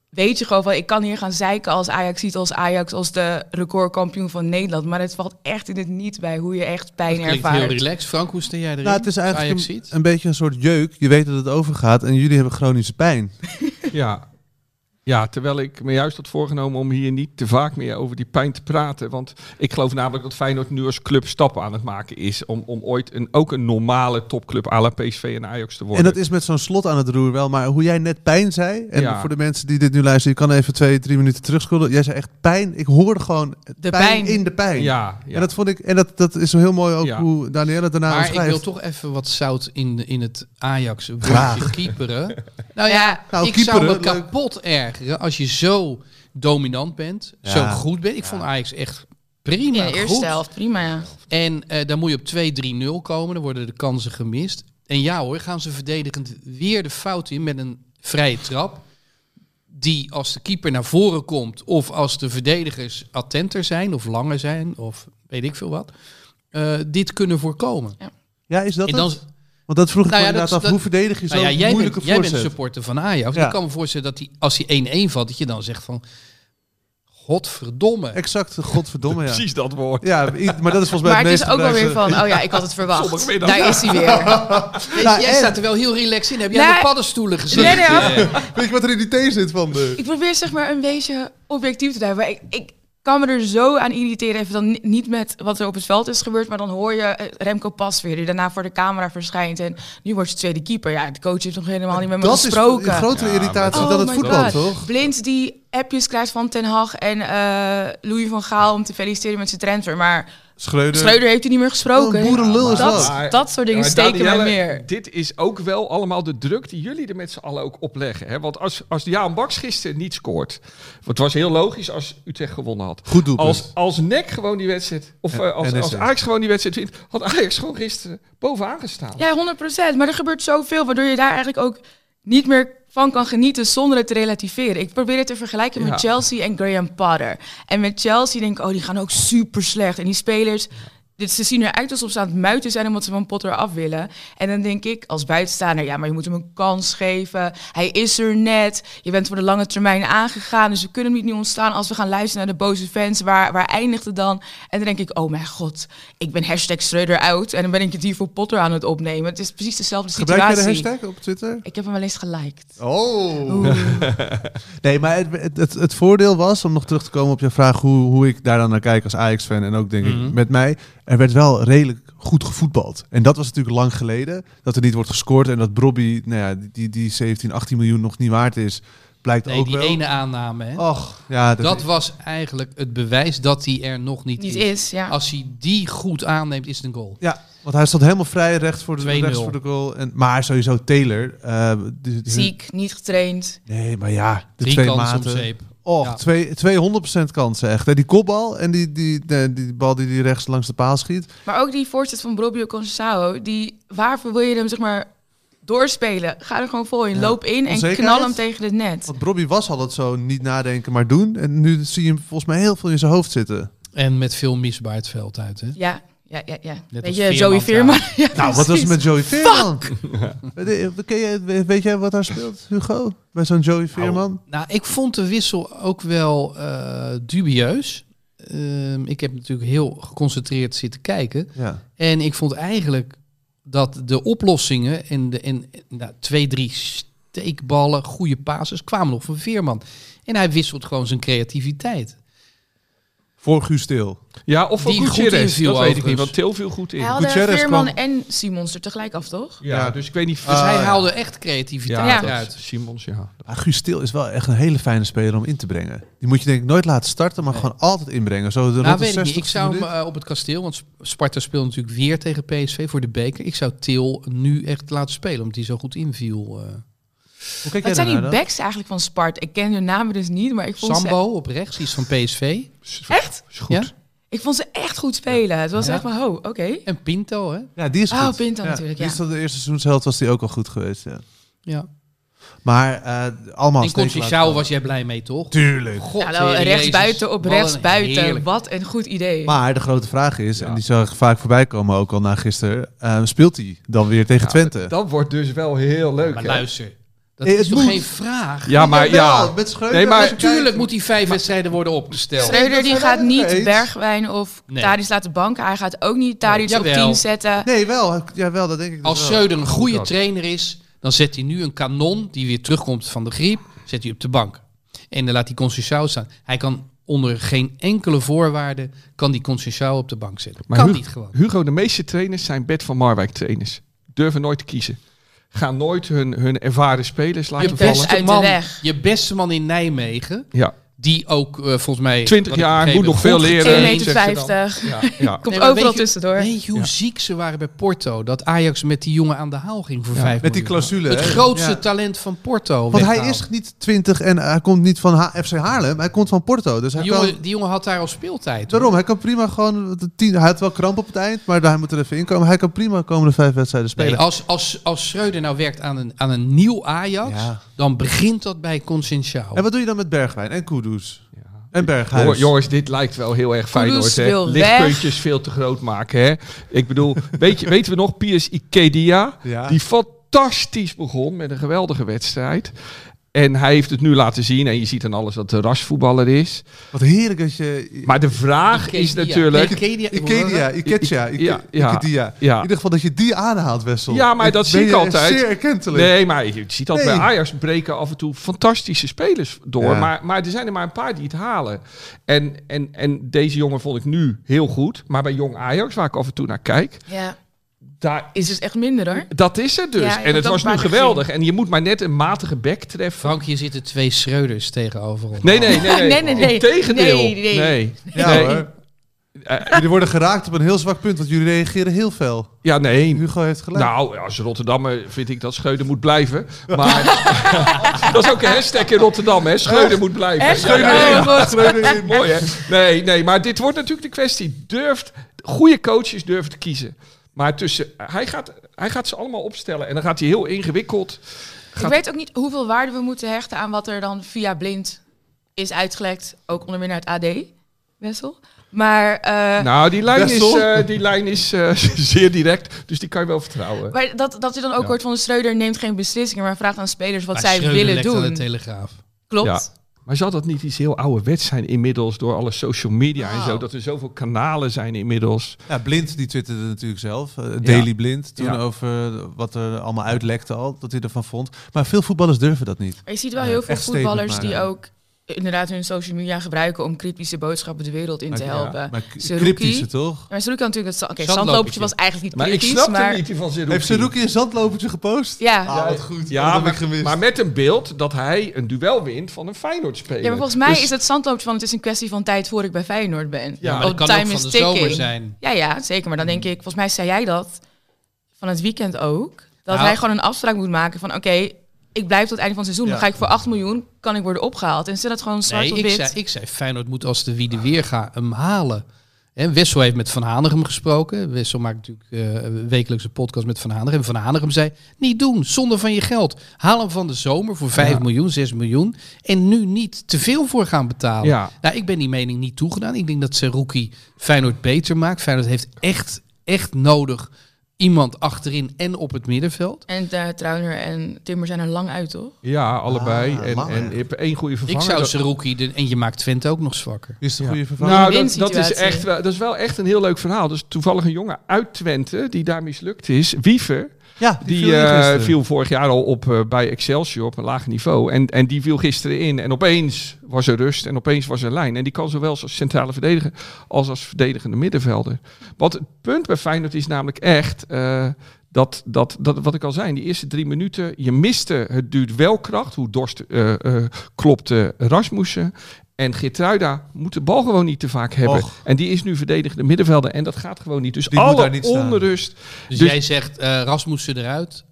Speaker 5: weet je gewoon van ik kan hier gaan zeiken als Ajax ziet als Ajax als de recordkampioen van Nederland. Maar het valt echt in het niet bij hoe je echt pijn
Speaker 2: Dat klinkt heel
Speaker 5: ervaart.
Speaker 2: relaxed. Frank, hoe sta jij erin?
Speaker 3: nou, het is eigenlijk
Speaker 2: Ajax
Speaker 3: een,
Speaker 2: ziet?
Speaker 3: een beetje een soort jeuk. Je weet dat het overgaat en jullie hebben chronische pijn.
Speaker 6: Ja. ja, terwijl ik me juist had voorgenomen om hier niet te vaak meer over die pijn te praten. Want ik geloof namelijk dat Feyenoord nu als club stappen aan het maken is. Om, om ooit een, ook een normale topclub à la PSV en Ajax te
Speaker 3: En
Speaker 6: worden.
Speaker 3: dat is met zo'n slot aan het roer wel. Maar hoe jij net pijn zei, en
Speaker 6: Ja.
Speaker 3: voor de mensen die dit nu luisteren, je kan even twee, drie minuten terugscrollen. Jij zei echt pijn. Ik hoorde gewoon
Speaker 5: De
Speaker 3: pijn,
Speaker 5: pijn.
Speaker 3: in de pijn.
Speaker 6: Ja, ja.
Speaker 3: En dat vond ik, en dat, dat is zo heel mooi ook
Speaker 6: Ja.
Speaker 3: hoe Danielle daarna
Speaker 2: maar ik
Speaker 3: omschrijft.
Speaker 2: wil toch even wat zout in, in het Ajax
Speaker 3: Graag.
Speaker 2: woordje keeperen. Nou ja,
Speaker 3: Nou,
Speaker 2: ik zou me
Speaker 3: keeperen, leuk.
Speaker 2: kapot ergeren als je zo dominant bent, zo
Speaker 3: Ja.
Speaker 2: goed bent. Ik vond Ajax echt
Speaker 5: In
Speaker 2: prima
Speaker 5: de eerste
Speaker 2: goed.
Speaker 5: helft, prima ja.
Speaker 2: En eh, dan moet je op 2-3-0 komen. Dan worden de kansen gemist. En ja hoor, gaan ze verdedigend weer de fout in met een vrije trap. Die als de keeper naar voren komt of als de verdedigers attenter zijn of langer zijn of weet ik veel wat. eh, dit kunnen voorkomen.
Speaker 3: Ja, is dat
Speaker 2: en dan,
Speaker 3: het? Want dat vroeg ik
Speaker 2: Nou
Speaker 3: me
Speaker 2: ja, dat
Speaker 3: inderdaad
Speaker 2: is-
Speaker 3: af.
Speaker 2: dat-
Speaker 3: hoe verdedig je zo'n
Speaker 2: nou ja, jij, bent,
Speaker 3: moeilijke
Speaker 2: jij bent
Speaker 3: voorzet?
Speaker 2: supporter van Ajax.
Speaker 3: Ja.
Speaker 2: Ik kan me voorstellen dat die, als hij 1-1 valt, dat je dan zegt van... Godverdomme.
Speaker 3: Exact, godverdomme ja.
Speaker 6: Precies dat woord.
Speaker 3: Ja, i- maar dat is volgens mij
Speaker 5: Maar het is
Speaker 3: meest
Speaker 5: ook wel weer
Speaker 3: gebruikte-
Speaker 5: van, oh ja, ik had het verwacht.
Speaker 6: Zondagmiddag.
Speaker 5: Daar is hij weer.
Speaker 3: Nou,
Speaker 2: jij
Speaker 3: en-
Speaker 2: staat er wel heel relaxed in. Heb jij
Speaker 5: Nee.
Speaker 2: de paddenstoelen gezien?
Speaker 5: Nee, nee,
Speaker 2: Eh,
Speaker 3: Weet je wat er in die thee zit van de...
Speaker 5: Ik probeer zeg maar een beetje objectief te duiden. Maar ik, ik kan me er zo aan irriteren. Even dan ni- niet met wat er op het veld is gebeurd. Maar dan hoor je eh, Remco Pasveer die daarna voor de camera verschijnt. En nu wordt ze tweede keeper. Ja, de coach heeft nog helemaal niet met me
Speaker 3: Dat is
Speaker 5: gesproken.
Speaker 3: een grotere
Speaker 6: Ja, maar
Speaker 3: irritatie
Speaker 5: Oh
Speaker 3: dan het
Speaker 5: my
Speaker 3: voetbal,
Speaker 5: God.
Speaker 3: toch?
Speaker 5: Blind die appjes krijgt van Ten Hag en eh Louis van Gaal om te feliciteren met zijn transfer. Maar
Speaker 3: Schreuder.
Speaker 5: Schreuder heeft hij niet meer
Speaker 3: Wat een
Speaker 5: gesproken.
Speaker 3: Oh, boerenlul is
Speaker 5: dat,
Speaker 3: dat.
Speaker 6: Maar-
Speaker 5: dat soort dingen
Speaker 6: Ja, maar
Speaker 5: steken mij
Speaker 6: Danielle,
Speaker 5: meer.
Speaker 6: Dit is ook wel allemaal de druk die jullie er met z'n allen ook opleggen. Hè? Want als, als Jaan Baks gisteren niet scoort. Want het was heel logisch als Utrecht gewonnen had.
Speaker 3: Goed doelpunt.
Speaker 6: Als, als NEC gewoon die wedstrijd. Of
Speaker 3: En-
Speaker 6: eh, als,
Speaker 3: NSC.
Speaker 6: als Ajax gewoon die wedstrijd wint. Had Ajax gewoon gisteren bovenaan gestaan.
Speaker 5: Ja, 100%. Maar er gebeurt zoveel, waardoor je daar eigenlijk ook niet meer van kan genieten zonder het te relativeren. Ik probeer het te vergelijken
Speaker 6: Ja.
Speaker 5: met Chelsea en Graham Potter. En met Chelsea denk ik, oh, die gaan ook super slecht. En die spelers Dit, ze zien eruit alsof ze aan het muiten zijn omdat ze van Potter af willen. En dan denk ik als buitenstaander, ja, maar je moet hem een kans geven. Hij is er net. Je bent voor de lange termijn aangegaan. Dus we kunnen hem niet nu ontstaan als we gaan luisteren naar de boze fans. Waar, waar eindigt het dan? En dan denk ik, oh mijn god, ik ben hashtag Schreuder out. En dan ben ik het hier voor Potter aan het opnemen. Het is precies dezelfde situatie.
Speaker 3: Gebruik jij de hashtag op Twitter?
Speaker 5: Ik heb hem wel eens geliked.
Speaker 3: Oh.
Speaker 5: Oeh.
Speaker 3: Nee, maar het, het, het, het voordeel was, om nog terug te komen op je vraag hoe, hoe ik daar dan naar kijk als Ajax-fan en ook denk ik
Speaker 2: Mhm.
Speaker 3: met mij, er werd wel redelijk goed gevoetbald. En dat was natuurlijk lang geleden, dat er niet wordt gescoord en dat Brobby, nou ja, die, die 17, 18 miljoen nog niet waard is, blijkt
Speaker 2: Nee,
Speaker 3: ook
Speaker 2: die
Speaker 3: wel.
Speaker 2: ene aanname. Hè?
Speaker 3: Och, ja, dat,
Speaker 2: dat was eigenlijk het bewijs dat hij er nog niet,
Speaker 5: Niet
Speaker 2: is.
Speaker 5: is,
Speaker 3: Oh.
Speaker 5: ja.
Speaker 2: Als hij die goed aanneemt, is het een goal.
Speaker 3: ja, want hij stond helemaal vrij recht voor de,
Speaker 2: 2-0.
Speaker 3: rechts voor de goal. En, maar sowieso Taylor. eh, die- die-
Speaker 5: Ziek, niet getraind.
Speaker 3: Nee, maar ja, de
Speaker 2: Drie
Speaker 3: twee
Speaker 2: kansen om
Speaker 3: maten.
Speaker 2: zeep.
Speaker 3: Och,
Speaker 2: Ja.
Speaker 3: twee, 200% kansen echt. Hè? Die kopbal en die, die, die, die bal die hij rechts langs de paal schiet.
Speaker 5: Maar ook die voorzet van Brobio Consao, die waarvoor wil je hem zeg maar doorspelen? Ga er gewoon vol in,
Speaker 3: Ja.
Speaker 5: loop in en
Speaker 3: Onzekerheid?
Speaker 5: knal hem tegen het net.
Speaker 3: Want Robbie was altijd zo niet nadenken, maar doen. En nu zie je hem volgens mij heel veel in zijn hoofd zitten.
Speaker 2: En met veel misbaar het veld uit. Hè?
Speaker 5: Ja, ja, ja, ja.
Speaker 2: Net
Speaker 5: Weet
Speaker 2: als
Speaker 5: je,
Speaker 2: Veerman
Speaker 5: Joey Veerman. Ja,
Speaker 3: nou, wat was
Speaker 5: precies.
Speaker 3: het met Joey Veerman? Weet- ken jij- weet- weet jij wat daar speelt, Hugo? Bij zo'n Joey Veerman?
Speaker 2: Nou, ik vond de wissel ook wel eh, dubieus. Ehm, ik heb natuurlijk heel geconcentreerd zitten kijken.
Speaker 3: Ja.
Speaker 2: En ik vond eigenlijk dat de oplossingen en, de, en en, nou, twee, drie steekballen, goede passes kwamen nog van Veerman. En hij wisselt gewoon zijn creativiteit.
Speaker 3: Voor Guus Til.
Speaker 6: Ja, of voor
Speaker 2: Die goed
Speaker 6: Gutierrez,
Speaker 2: inviel
Speaker 6: dat weet ik
Speaker 2: overigens.
Speaker 6: niet, want Til viel goed in.
Speaker 5: Hij
Speaker 6: Ja,
Speaker 5: hadden
Speaker 3: Gutierrez
Speaker 5: Veerman
Speaker 3: kwam-
Speaker 5: en Simons er tegelijk af, toch?
Speaker 3: Ja.
Speaker 6: dus ik weet niet...
Speaker 2: Dus
Speaker 3: Ah,
Speaker 2: hij
Speaker 3: ja.
Speaker 2: haalde echt creativiteit
Speaker 5: Ja.
Speaker 6: dat
Speaker 2: uit.
Speaker 6: Simons, ja.
Speaker 3: Maar Guus Til is wel echt een hele fijne speler om in te brengen. Die moet je denk ik nooit laten starten, maar
Speaker 2: Nee.
Speaker 3: gewoon altijd inbrengen. Zo de
Speaker 2: Nou,
Speaker 3: rond de
Speaker 2: weet ik niet.
Speaker 3: 60
Speaker 2: Ik zou hem eh, op het kasteel, want Sparta speelt natuurlijk weer tegen PSV voor de beker. Ik zou Til nu echt laten spelen, omdat hij zo goed inviel. eh.
Speaker 3: Hoe kijk jij
Speaker 5: Wat zijn die
Speaker 3: daarnaar dan?
Speaker 5: backs eigenlijk van Spart? Ik ken hun namen dus niet, maar ik vond
Speaker 2: Sambo op rechts, die is van PSV.
Speaker 6: Is-
Speaker 5: ze echt...
Speaker 6: Is goed.
Speaker 2: Ja?
Speaker 5: Ik vond ze echt goed spelen. Het was
Speaker 2: Ja.
Speaker 5: echt van, oh, oké.
Speaker 2: En Pinto, hè?
Speaker 3: Ja, die is
Speaker 5: Oh,
Speaker 3: goed.
Speaker 5: Pinto natuurlijk,
Speaker 3: Die
Speaker 5: ja.
Speaker 3: is tot de eerste seizoenshelft was die ook al goed geweest, ja.
Speaker 2: Ja.
Speaker 3: Maar eh allemaal...
Speaker 2: En
Speaker 3: steeds
Speaker 2: Conceicao
Speaker 3: laten-
Speaker 2: was jij blij mee, toch?
Speaker 3: Tuurlijk.
Speaker 2: God, eh,
Speaker 5: nou,
Speaker 2: Jezus.
Speaker 5: rechtsbuiten op
Speaker 2: Wat een
Speaker 5: rechtsbuiten.
Speaker 2: heerlijk-
Speaker 5: Wat een goed idee.
Speaker 3: Maar de grote vraag is,
Speaker 6: Ja.
Speaker 3: en die zag ik vaak voorbij komen ook al na gisteren, eh, speelt hij dan weer tegen Twente?
Speaker 6: Dat wordt dus wel heel leuk,
Speaker 2: Maar
Speaker 6: hè?
Speaker 2: luister, dat
Speaker 3: Eh, het
Speaker 2: is toch
Speaker 3: moet.
Speaker 2: geen vraag?
Speaker 6: Ja, maar
Speaker 3: Jawel,
Speaker 6: ja.
Speaker 3: met Schreuder.
Speaker 6: Nee, maar-
Speaker 3: als je
Speaker 2: Natuurlijk
Speaker 3: kijkt-
Speaker 2: moet die vijf wedstrijden worden opgesteld.
Speaker 5: Schreuder die
Speaker 3: dat
Speaker 5: gaat
Speaker 3: zijn we het
Speaker 5: niet
Speaker 3: eens.
Speaker 5: Bergwijn of
Speaker 2: Nee.
Speaker 5: Tadic laten banken. Hij gaat ook niet Tadic
Speaker 2: Nee,
Speaker 5: op
Speaker 2: jawel.
Speaker 5: 10 zetten.
Speaker 3: Nee, wel. Jawel, dat denk ik dus
Speaker 2: Als
Speaker 3: wel.
Speaker 2: Schreuder een goede
Speaker 6: dat.
Speaker 2: trainer is, dan zet hij nu een kanon die weer terugkomt van de griep, zet hij op de bank. En dan laat hij Conceicao staan. Hij kan onder geen enkele voorwaarde kan die Conceicao op de bank zetten.
Speaker 6: Maar
Speaker 2: kan
Speaker 6: Hugo-
Speaker 2: niet gewoon.
Speaker 6: Hugo, de meeste trainers zijn Bert van Marwijk trainers. Durven nooit te kiezen. Gaan nooit hun, hun ervaren spelers
Speaker 2: Je
Speaker 6: laten vallen.
Speaker 5: best uit
Speaker 2: beste,
Speaker 5: de
Speaker 2: man,
Speaker 5: weg.
Speaker 2: je beste man in Nijmegen,
Speaker 6: Ja,
Speaker 2: die ook eh, volgens mij...
Speaker 6: 20
Speaker 2: wat ik
Speaker 6: jaar,
Speaker 2: begreep,
Speaker 6: moet nog
Speaker 2: goed
Speaker 6: veel leren.
Speaker 2: getraind
Speaker 5: 1,50
Speaker 6: Nee,
Speaker 5: meter.
Speaker 6: zegt ze dan.
Speaker 5: 50.
Speaker 6: ja, ja.
Speaker 5: Komt
Speaker 2: Nee, maar
Speaker 5: overal
Speaker 2: weet je-
Speaker 5: tussendoor.
Speaker 2: Weet je hoe
Speaker 6: Ja.
Speaker 2: ziek ze waren bij Porto? Dat Ajax met die jongen aan de haal ging voor
Speaker 6: Ja,
Speaker 2: vijf
Speaker 3: Met die
Speaker 2: miljoen.
Speaker 3: clausule.
Speaker 2: Het
Speaker 3: hè?
Speaker 2: grootste
Speaker 3: Ja.
Speaker 2: talent van Porto.
Speaker 3: Want hij
Speaker 2: weggehaald.
Speaker 3: is niet 20 en hij komt niet van Ha- FC Haarlem. Hij komt van Porto. Dus hij
Speaker 2: Die jongen,
Speaker 3: kan...
Speaker 2: die jongen had daar al speeltijd. hoor.
Speaker 3: Daarom, hij kan prima gewoon... De tien, hij had wel kramp op het eind, maar hij moet er even in komen. Hij kan prima de komende vijf wedstrijden spelen.
Speaker 2: Nee, als, als, als Schreuder nou werkt aan een, aan een nieuw Ajax,
Speaker 3: Ja.
Speaker 2: dan begint dat bij Consensual.
Speaker 3: En wat doe je dan met Bergwijn en Kudus?
Speaker 6: Ja.
Speaker 3: En Berghuis?
Speaker 6: oh. Jongen- jongens, dit lijkt wel heel erg Feyenoord. Hè?
Speaker 5: wil
Speaker 6: Lichtpuntjes veel te groot maken. Hè? Ik bedoel, weet je, weten we nog, Piers Ikedia,
Speaker 3: Ja.
Speaker 6: die fantastisch begon met een geweldige wedstrijd. En hij heeft het nu laten zien. En je ziet aan alles dat de rasvoetballer is.
Speaker 3: Wat heerlijk dat je...
Speaker 6: Maar de vraag is natuurlijk...
Speaker 3: Ikedia, Iketja, Ike-
Speaker 6: Ja, ja.
Speaker 3: Ikedia.
Speaker 6: Ja.
Speaker 3: In ieder geval dat je die aanhaalt, Wessel.
Speaker 6: Ja, maar dat
Speaker 3: ben
Speaker 6: zie ik
Speaker 3: je
Speaker 6: altijd.
Speaker 3: zeer erkentelijk.
Speaker 6: Nee, maar je ziet dat
Speaker 3: Nee.
Speaker 6: bij Ajax breken af en toe fantastische spelers door.
Speaker 3: Ja.
Speaker 6: Maar, maar er zijn er maar een paar die het halen. En, en, en deze jongen vond ik nu heel goed. Maar bij jong Ajax, waar ik af en toe naar kijk,
Speaker 5: Ja,
Speaker 6: daar,
Speaker 5: is dus echt minder hoor.
Speaker 6: dat is het dus.
Speaker 5: Ja, ik heb
Speaker 6: en het
Speaker 5: dat
Speaker 6: was
Speaker 5: een
Speaker 6: nu
Speaker 5: paar keer
Speaker 6: geweldig. En je moet maar net een matige bek treffen.
Speaker 2: Frank, hier zitten twee Schreuders tegenover ons.
Speaker 6: Nee, nee, nee.
Speaker 5: Nee, nee, nee.
Speaker 6: Integendeel.
Speaker 5: Nee, nee.
Speaker 3: Ja,
Speaker 6: Nee.
Speaker 3: hoor.
Speaker 6: Eh,
Speaker 3: Jullie worden geraakt op een heel zwak punt, want jullie reageren heel fel.
Speaker 6: ja, nee.
Speaker 3: Hugo heeft gelijk.
Speaker 6: Nou, als Rotterdammer vind ik dat Scheuden moet blijven. Maar dat is ook een hashtag in Rotterdam, hè? Scheuden moet blijven.
Speaker 5: Echt?
Speaker 6: Ja, ja, ja.
Speaker 5: Oh, god.
Speaker 6: Mooi, hè? Nee, nee, maar dit wordt natuurlijk de kwestie. Durft, goede coaches durven te kiezen. Maar tussen, hij gaat, hij gaat ze allemaal opstellen. En dan gaat hij heel ingewikkeld.
Speaker 5: Ik weet ook niet hoeveel waarde we moeten hechten aan wat er dan via blind is uitgelekt. Ook onder meer naar het AD, Wessel. Maar, eh,
Speaker 6: nou, die lijn is,
Speaker 3: Wessel?
Speaker 6: eh, die lijn is eh, zeer direct, dus die kan je wel vertrouwen.
Speaker 5: maar dat, dat je dan ook
Speaker 6: Ja.
Speaker 5: hoort van de Schreuder neemt geen beslissingen, maar vraagt aan spelers wat
Speaker 2: Maar
Speaker 5: zij
Speaker 2: Schreuder
Speaker 5: willen
Speaker 2: lekt aan de
Speaker 5: doen.
Speaker 2: Telegraaf.
Speaker 5: Klopt.
Speaker 6: Ja. Maar zal dat niet iets heel ouderwets zijn inmiddels door alle social media en
Speaker 5: Nou.
Speaker 6: zo? Dat er zoveel kanalen zijn inmiddels.
Speaker 3: Ja, Blind die twitterde natuurlijk zelf, eh, Daily Blind, toen
Speaker 6: Ja.
Speaker 3: over wat er allemaal uitlekte al, dat hij ervan vond. Maar veel voetballers durven dat niet.
Speaker 5: Maar je ziet wel
Speaker 3: Ja,
Speaker 5: heel veel
Speaker 3: echt statement
Speaker 5: voetballers
Speaker 3: maken.
Speaker 5: die ook inderdaad hun social media gebruiken om kritische boodschappen de wereld in te
Speaker 3: Maar-
Speaker 5: helpen.
Speaker 3: Maar k-
Speaker 5: Saruki?
Speaker 3: cryptische toch?
Speaker 5: Maar Saruki had natuurlijk dat... Oké,
Speaker 2: Zandlopertje.
Speaker 5: zandlopertje was eigenlijk niet
Speaker 6: Maar ik
Speaker 5: kritisch,
Speaker 6: snap
Speaker 5: maar...
Speaker 6: er niet die van Zerouki.
Speaker 3: Heeft Saruki een zandlopertje gepost?
Speaker 5: Ja.
Speaker 3: Ah, wat goed.
Speaker 6: Ja,
Speaker 3: dat heb ik
Speaker 6: maar,
Speaker 3: gemist.
Speaker 6: maar met een beeld dat hij een duel wint van een Feyenoord-speler.
Speaker 5: ja, maar volgens mij
Speaker 6: Dus-
Speaker 5: is het zandlopertje van het is een kwestie van tijd voor ik bij Feyenoord ben.
Speaker 6: Ja,
Speaker 2: Ja, maar
Speaker 5: Op
Speaker 2: dat kan ook
Speaker 5: time
Speaker 2: van de
Speaker 5: is ticking.
Speaker 2: zomer zijn.
Speaker 5: Ja, ja, zeker. Maar dan denk ik, volgens mij zei jij dat van het weekend ook. Dat
Speaker 2: Nou.
Speaker 5: hij gewoon een afspraak moet maken van oké, ik blijf tot het einde van het seizoen. Dan
Speaker 3: Ja.
Speaker 5: ga ik voor 8 miljoen, kan ik worden opgehaald. En zit dat gewoon zwart
Speaker 2: Nee,
Speaker 5: op
Speaker 2: ik
Speaker 5: wit.
Speaker 2: zei, ik zei Feyenoord moet als de wie de weer gaat hem halen. En Wessel heeft met Van Hanegem gesproken. Wessel maakt natuurlijk eh, een wekelijkse podcast met Van Hanegem. Van Hanegem zei, niet doen, zonde van je geld. Haal hem van de zomer voor 5 miljoen, 6 miljoen. En nu niet te veel voor gaan betalen.
Speaker 6: Ja.
Speaker 2: Nou, ik ben die mening niet toegedaan. Ik denk dat Seruki Feyenoord beter maakt. Feyenoord heeft echt, echt nodig iemand achterin en op het middenveld.
Speaker 5: En eh Trauner en Timmer zijn er lang uit, toch?
Speaker 6: Ja, allebei.
Speaker 3: Ah,
Speaker 6: en,
Speaker 3: langer.
Speaker 6: en je hebt één goede
Speaker 2: Ik
Speaker 6: vervanger.
Speaker 2: zou
Speaker 6: dat-
Speaker 2: Seruki, de- en je maakt Twente ook nog zwakker.
Speaker 3: Is het een
Speaker 6: Ja.
Speaker 3: goede vervanger?
Speaker 6: Nou, dat,
Speaker 5: Win-win
Speaker 6: dat, is
Speaker 5: situatie.
Speaker 6: echt wel, dat is wel echt een heel leuk verhaal. Dus toevallig een jongen uit Twente die daar mislukt is, Wiever.
Speaker 3: ja, die,
Speaker 6: Die
Speaker 3: viel in
Speaker 6: eh,
Speaker 3: gisteren.
Speaker 6: viel vorig jaar al op eh, bij Excelsior op een laag niveau. En, en die viel gisteren in. En opeens was er rust en opeens was er lijn. En die kan zowel als centrale verdediger als als verdedigende middenvelder. Want het punt bij Feyenoord is namelijk echt... eh, dat, dat, dat, wat ik al zei, in die eerste drie minuten, je miste het duurt wel kracht. Hoe dorst eh, eh, klopte Rasmussen. En Geertruida moet de bal gewoon niet te vaak hebben.
Speaker 3: Och.
Speaker 6: En die is nu verdedigende middenvelder. En dat gaat gewoon niet. Dus
Speaker 3: Die moet
Speaker 6: alle
Speaker 3: daar niet staan.
Speaker 6: onrust
Speaker 2: Dus,
Speaker 6: Dus-
Speaker 2: jij zegt eh Rasmussen eruit,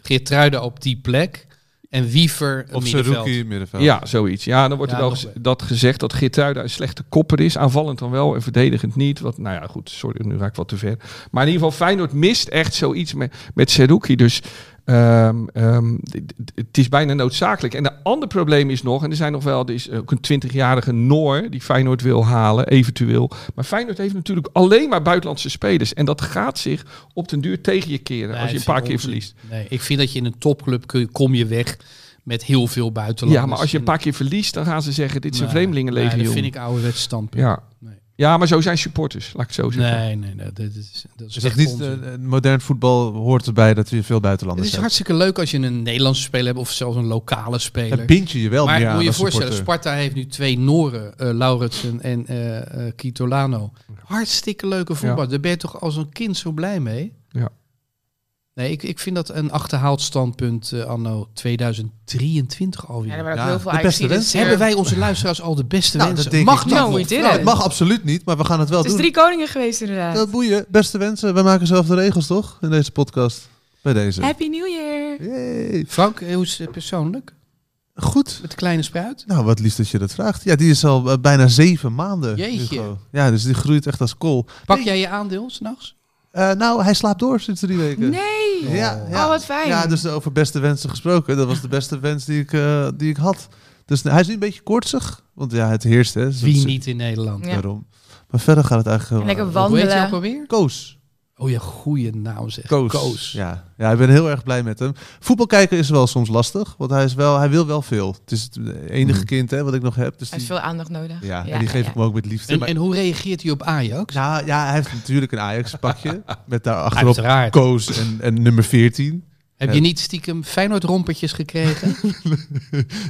Speaker 2: Geertruiden op die plek en Wiever
Speaker 3: Of
Speaker 2: middenveld.
Speaker 3: Saruki in middenveld.
Speaker 6: Ja, zoiets. Ja, dan wordt
Speaker 2: Ja,
Speaker 6: er wel
Speaker 2: nog
Speaker 6: gez-
Speaker 2: wel.
Speaker 6: dat gezegd dat Geertruida een slechte kopper is. Aanvallend dan wel en verdedigend niet. Wat, nou ja, goed, sorry, nu raak ik wat te ver. Maar in ieder geval, Feyenoord mist echt zoiets met, met Seruki. Dus ehm, ehm, d- d- het is bijna noodzakelijk. En een ander probleem is nog, en er zijn nog wel, er is ook een 20-jarige Noor die Feyenoord wil halen, eventueel. Maar Feyenoord heeft natuurlijk alleen maar buitenlandse spelers. En dat gaat zich op den duur tegen je keren
Speaker 2: Nee,
Speaker 6: eh, als je
Speaker 2: ik
Speaker 6: een paar
Speaker 2: vind
Speaker 6: keer
Speaker 2: onzin.
Speaker 6: verliest.
Speaker 2: Nee, ik vind dat je in een topclub kun je, kom je weg met heel veel buitenlanders.
Speaker 6: Ja, maar als je een
Speaker 2: En-
Speaker 6: paar keer verliest, dan gaan ze zeggen, dit is een
Speaker 2: Nee,
Speaker 6: vreemdelingenlegioen.
Speaker 2: Nee, dat vind ik ouderwets standpunt.
Speaker 6: Ja.
Speaker 2: Nee.
Speaker 6: ja, maar zo zijn supporters, laat ik het zo zeggen.
Speaker 2: Nee, nee, nee, dat is, dat is,
Speaker 3: Is
Speaker 2: Dus echt
Speaker 3: dat niet,
Speaker 2: onzin.
Speaker 3: eh, eh, modern voetbal hoort erbij dat je veel
Speaker 2: het
Speaker 3: buitenlanders
Speaker 2: is
Speaker 3: hebt.
Speaker 2: hartstikke leuk als je een Nederlandse speler hebt of zelfs een lokale speler.
Speaker 3: Dan bind je je wel
Speaker 2: maar
Speaker 3: meer aan
Speaker 2: moet je je
Speaker 3: als
Speaker 2: voorstellen,
Speaker 3: supporter.
Speaker 2: Sparta heeft nu twee Noren, eh Lauritsen en eh eh Kitolano. Hartstikke leuke voetbal. Daar ben je toch als een kind zo blij mee?
Speaker 6: Ja.
Speaker 2: Nee, ik, ik vind dat een achterhaald standpunt eh, anno 2023 alweer.
Speaker 5: Ja, er waren ook
Speaker 3: Ja,
Speaker 5: heel veel
Speaker 3: de beste
Speaker 5: Ajaxides
Speaker 3: wensen.
Speaker 5: die
Speaker 2: Hebben
Speaker 5: er-
Speaker 2: wij onze luisteraars al de beste
Speaker 3: Nou, dat
Speaker 2: wensen?
Speaker 3: denk
Speaker 2: Mag
Speaker 3: ik
Speaker 2: dat
Speaker 5: No,
Speaker 2: nog?
Speaker 5: we didn't.
Speaker 3: Nou, het mag absoluut niet, maar we gaan het wel
Speaker 5: Het is
Speaker 3: doen.
Speaker 5: drie koningen geweest inderdaad.
Speaker 3: Dat boeien. Beste wensen, wij maken zelf de regels toch? In deze podcast. Bij deze.
Speaker 5: Happy New Year!
Speaker 3: Yay.
Speaker 2: Frank, eh, hoe is het persoonlijk?
Speaker 3: Goed.
Speaker 2: Met de kleine spruit?
Speaker 3: Nou, wat lief dat je dat vraagt. Ja, die is al eh, bijna zeven maanden.
Speaker 2: Jeetje.
Speaker 3: Hugo. Ja, dus die groeit echt als kool.
Speaker 2: Pak
Speaker 3: Nee.
Speaker 2: jij je aandeel s'nachts?
Speaker 3: Eh, nou, hij slaapt door sinds drie weken.
Speaker 5: Nee!
Speaker 3: Ja, ja.
Speaker 5: Oh, wat fijn.
Speaker 3: Ja, dus over beste wensen gesproken. Dat was de beste wens die ik, eh, die ik had. Dus nou, hij is nu een beetje koortsig. Want ja, het heerst, hè. Zo-
Speaker 2: Wie niet in Nederland?
Speaker 5: Ja.
Speaker 3: Daarom. Maar verder gaat het eigenlijk...
Speaker 5: En
Speaker 3: heel-
Speaker 5: lekker
Speaker 2: Hoe heet je ook
Speaker 5: wandelen.
Speaker 2: alweer?
Speaker 3: Koos.
Speaker 2: Oh ja, goede naam zeg.
Speaker 3: Koos. Ja. ja, ik ben heel erg blij met hem. Voetbal kijken is wel soms lastig, want hij, is wel, hij wil wel veel. Het is het enige
Speaker 2: Hmm.
Speaker 6: Mhm.
Speaker 3: kind hè, wat ik nog heb. Dus
Speaker 5: Hij heeft
Speaker 3: die,
Speaker 5: veel aandacht nodig.
Speaker 3: ja, en die geef
Speaker 5: ja.
Speaker 3: ik hem ook met liefde.
Speaker 2: En,
Speaker 3: maar-
Speaker 2: en hoe reageert hij op Ajax?
Speaker 3: nou, ja, hij heeft natuurlijk een Ajax-pakje met daar achterop
Speaker 2: Uiteraard.
Speaker 3: Koos en, en nummer 14.
Speaker 2: Heb je niet stiekem Feyenoord-rompertjes gekregen?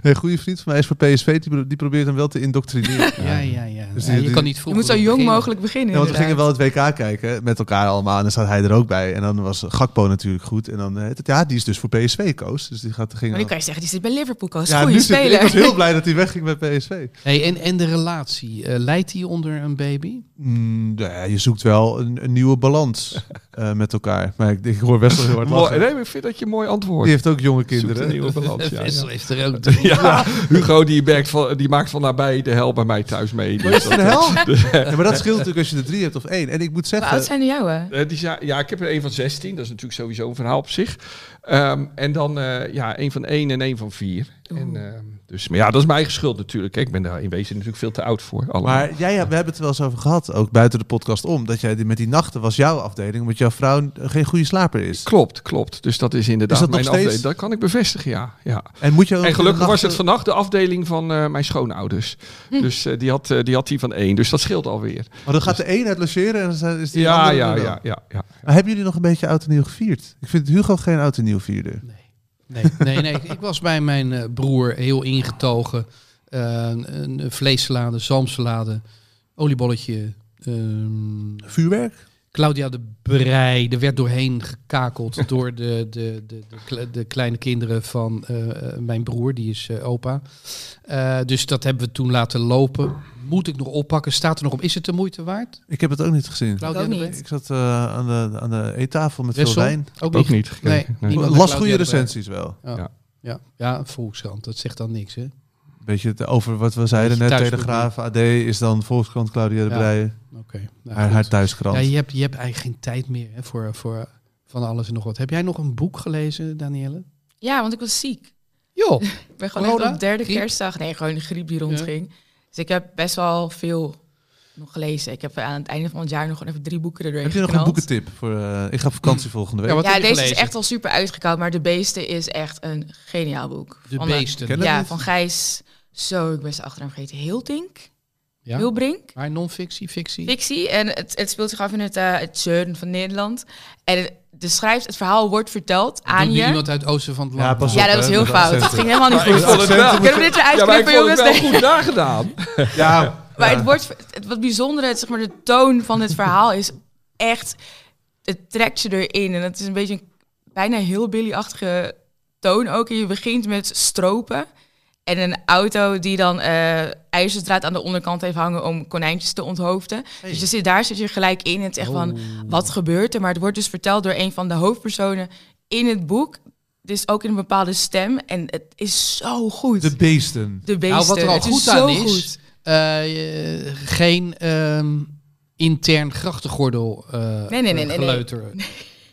Speaker 3: Een goede vriend van mij is voor PSV, die, pro- die probeert hem wel te indoctrineren.
Speaker 2: ja, ja, ja.
Speaker 3: Dus
Speaker 2: Ja,
Speaker 3: die-
Speaker 2: je
Speaker 3: die-
Speaker 2: kan niet
Speaker 5: Je
Speaker 2: vroeg
Speaker 5: moet zo
Speaker 2: genoeg
Speaker 5: jong
Speaker 2: beginnen.
Speaker 5: mogelijk beginnen.
Speaker 3: Ja, want we gingen
Speaker 5: inderdaad.
Speaker 3: wel het WK kijken met elkaar allemaal en dan zat hij er ook bij. En dan was Gakpo natuurlijk goed. En dan heet het, ja, die is dus voor PSV, Koos. Dus die gaat, ging
Speaker 5: Maar nu kan je zeggen, die zit bij Liverpool. Koos.
Speaker 3: ja,
Speaker 5: Goeie
Speaker 3: nu zit-
Speaker 5: speler.
Speaker 3: ik was heel blij dat hij wegging bij PSV.
Speaker 2: Hey, en, en de relatie, eh, leidt die onder een baby?
Speaker 3: Mm, nou ja, je zoekt wel een, een nieuwe balans eh, met elkaar. Maar ik, ik hoor best wel heel hard
Speaker 6: Mooi,
Speaker 3: lachen.
Speaker 6: nee, maar ik vind dat je een mooi antwoord.
Speaker 3: Die heeft ook jonge
Speaker 6: Zoekt een
Speaker 3: kinderen.
Speaker 6: nieuwe balans, ja,
Speaker 2: Wessel
Speaker 6: ja.
Speaker 2: heeft Eh, er ook drie.
Speaker 6: Ja, Hugo die, werkt van, die maakt van nabij de hel bij mij thuis mee. Dus
Speaker 3: Is het een hel? Ja, maar dat scheelt natuurlijk als je er drie hebt of één. En ik moet
Speaker 5: Hoe oud
Speaker 3: zeggen,
Speaker 5: zijn de jouwe?
Speaker 6: Eh, die zei- ja, ik heb er een van 16. Dat is natuurlijk
Speaker 3: Oh.
Speaker 6: sowieso een verhaal op zich. Ehm, en dan eh, ja, een van één en een van vier. En, ehm, Dus, maar ja, dat is mijn eigen schuld natuurlijk. Kijk, Ik ben daar in wezen natuurlijk veel te oud voor. Allemaal.
Speaker 3: Maar jij, ja, we hebben het wel eens over gehad, ook buiten de podcast om, dat jij die- met die nachten was jouw afdeling, omdat jouw vrouw eh, geen goede slaper is.
Speaker 6: Klopt, klopt. Dus dat is inderdaad
Speaker 3: Is dat nog
Speaker 6: mijn
Speaker 3: steeds?
Speaker 6: afdeling. Dat kan ik bevestigen, ja. ja.
Speaker 3: En, moet je ook
Speaker 6: En gelukkig
Speaker 3: de
Speaker 6: was
Speaker 3: nachten-
Speaker 6: het vannacht de afdeling van eh, mijn schoonouders.
Speaker 3: Hm.
Speaker 6: Dus eh, die, had, eh, die had die van één. Dus dat scheelt alweer.
Speaker 3: Maar dan gaat de een uit logeren en dan zijn- is Dus die
Speaker 6: Ja,
Speaker 3: andere
Speaker 6: ja,
Speaker 3: er wel.
Speaker 6: ja, ja, ja.
Speaker 3: Maar hebben jullie nog een beetje oud en nieuw gevierd? Ik vind Hugo geen oud en nieuw vierder.
Speaker 2: Nee, nee, nee. ik- Ik was bij mijn eh, broer heel ingetogen. Eh, een een vleessalade, zalmsalade, oliebolletje. ehm,
Speaker 3: Vuurwerk?
Speaker 2: Claudia de Brij, er werd doorheen gekakeld door de, de, de, de, kle- de kleine kinderen van eh, eh, mijn broer, die is eh, opa. Eh, dus dat hebben we toen laten lopen. Moet ik nog oppakken? Staat er nog op? Is het de moeite waard?
Speaker 3: Ik heb het ook niet gezien.
Speaker 2: Claudia
Speaker 5: ook
Speaker 2: de
Speaker 5: niet.
Speaker 2: Brij?
Speaker 3: Ik zat eh, aan, de, aan de eettafel met
Speaker 2: Wessel?
Speaker 3: veel wijn.
Speaker 2: Ook
Speaker 6: Ook
Speaker 2: niet.
Speaker 6: niet gekeken.
Speaker 2: Nee,
Speaker 6: Nee.
Speaker 2: niemand.
Speaker 3: Las
Speaker 2: Claudia eh,
Speaker 3: goede
Speaker 2: de Brij.
Speaker 3: recensies wel.
Speaker 2: Ja, ja Volkskrant, dat zegt dan niks, hè?
Speaker 3: Beetje het- over wat we zeiden
Speaker 2: Beetje
Speaker 3: net,
Speaker 2: thuis-
Speaker 3: Telegraaf, AD is dan Volkskrant, Claudia de
Speaker 2: Ja.
Speaker 3: Breij,
Speaker 2: Oké. nou
Speaker 3: haar,
Speaker 2: goed.
Speaker 3: haar thuiskrant.
Speaker 2: ja, je, hebt, je hebt eigenlijk geen tijd meer hè, voor, voor van alles en nog wat. Heb jij nog een boek gelezen, Danielle?
Speaker 5: Ja, want ik was ziek.
Speaker 2: Joh,
Speaker 5: Ik ben gewoon echt
Speaker 2: Corona?
Speaker 5: op derde
Speaker 2: Griep?
Speaker 5: kerstdag. Nee, gewoon de griep die
Speaker 2: Ja.
Speaker 5: rondging. Dus ik heb best wel veel nog gelezen. Ik heb aan het einde van het jaar nog gewoon even drie boeken erdoorheen
Speaker 3: heb je nog een
Speaker 5: geknald.
Speaker 3: boekentip? Voor, eh, ik ga op
Speaker 2: Hm.
Speaker 3: vakantie volgende week.
Speaker 2: Ja, wat-
Speaker 5: Ja,
Speaker 2: heb je
Speaker 5: deze is
Speaker 2: gelezen?
Speaker 5: echt wel super uitgekoud. Maar De Beesten is echt een geniaal boek.
Speaker 2: de
Speaker 5: Van eh,
Speaker 2: beesten.
Speaker 3: Ken-
Speaker 5: Ja,
Speaker 3: niet?
Speaker 5: van Gijs. Zo, ik ben zijn achternaam vergeten. Hiltink?
Speaker 2: Ja?
Speaker 5: Hilbrink?
Speaker 2: Maar non-fictie, fictie?
Speaker 5: Fictie. En het, het speelt zich af in het, eh het zuiden van Nederland. En het, de schrijft, het verhaal wordt verteld aan
Speaker 2: Doet
Speaker 5: je.
Speaker 2: nu iemand uit het oosten van het land.
Speaker 3: Ja, pas
Speaker 5: Ja,
Speaker 3: op,
Speaker 5: dat was
Speaker 3: hè,
Speaker 5: heel
Speaker 3: met
Speaker 5: fout. Dat
Speaker 3: accenten.
Speaker 5: ging helemaal niet
Speaker 6: Maar ik vond
Speaker 5: goed.
Speaker 6: het wel-
Speaker 5: Kunnen we dit eruit
Speaker 6: Ja, maar ik
Speaker 5: knippen,
Speaker 6: vond het
Speaker 5: jongens?
Speaker 6: wel
Speaker 5: Nee.
Speaker 6: goed nagedaan.
Speaker 3: Ja,
Speaker 5: Maar
Speaker 3: ja.
Speaker 5: het wordt, het, wat bijzonder, het, zeg maar, de toon van dit verhaal is echt, het trekt je erin. En het is een beetje een bijna heel Billy-achtige toon ook. En je begint met stropen en een auto die dan eh ijzerdraad aan de onderkant heeft hangen om konijntjes te onthoofden. Dus je zit, daar zit je gelijk in. Het is echt
Speaker 2: Oh.
Speaker 5: van, wat gebeurt er? Maar het wordt dus verteld door een van de hoofdpersonen in het boek. Dus ook in een bepaalde stem. En het is zo goed.
Speaker 3: de beesten.
Speaker 5: De beesten.
Speaker 2: Nou, wat er al
Speaker 5: het is
Speaker 2: goed
Speaker 5: zo
Speaker 2: aan
Speaker 5: goed.
Speaker 2: is, eh, eh, geen ehm, intern grachtengordel eh
Speaker 5: nee, nee, nee,
Speaker 2: eh,
Speaker 5: nee.
Speaker 2: geleuteren.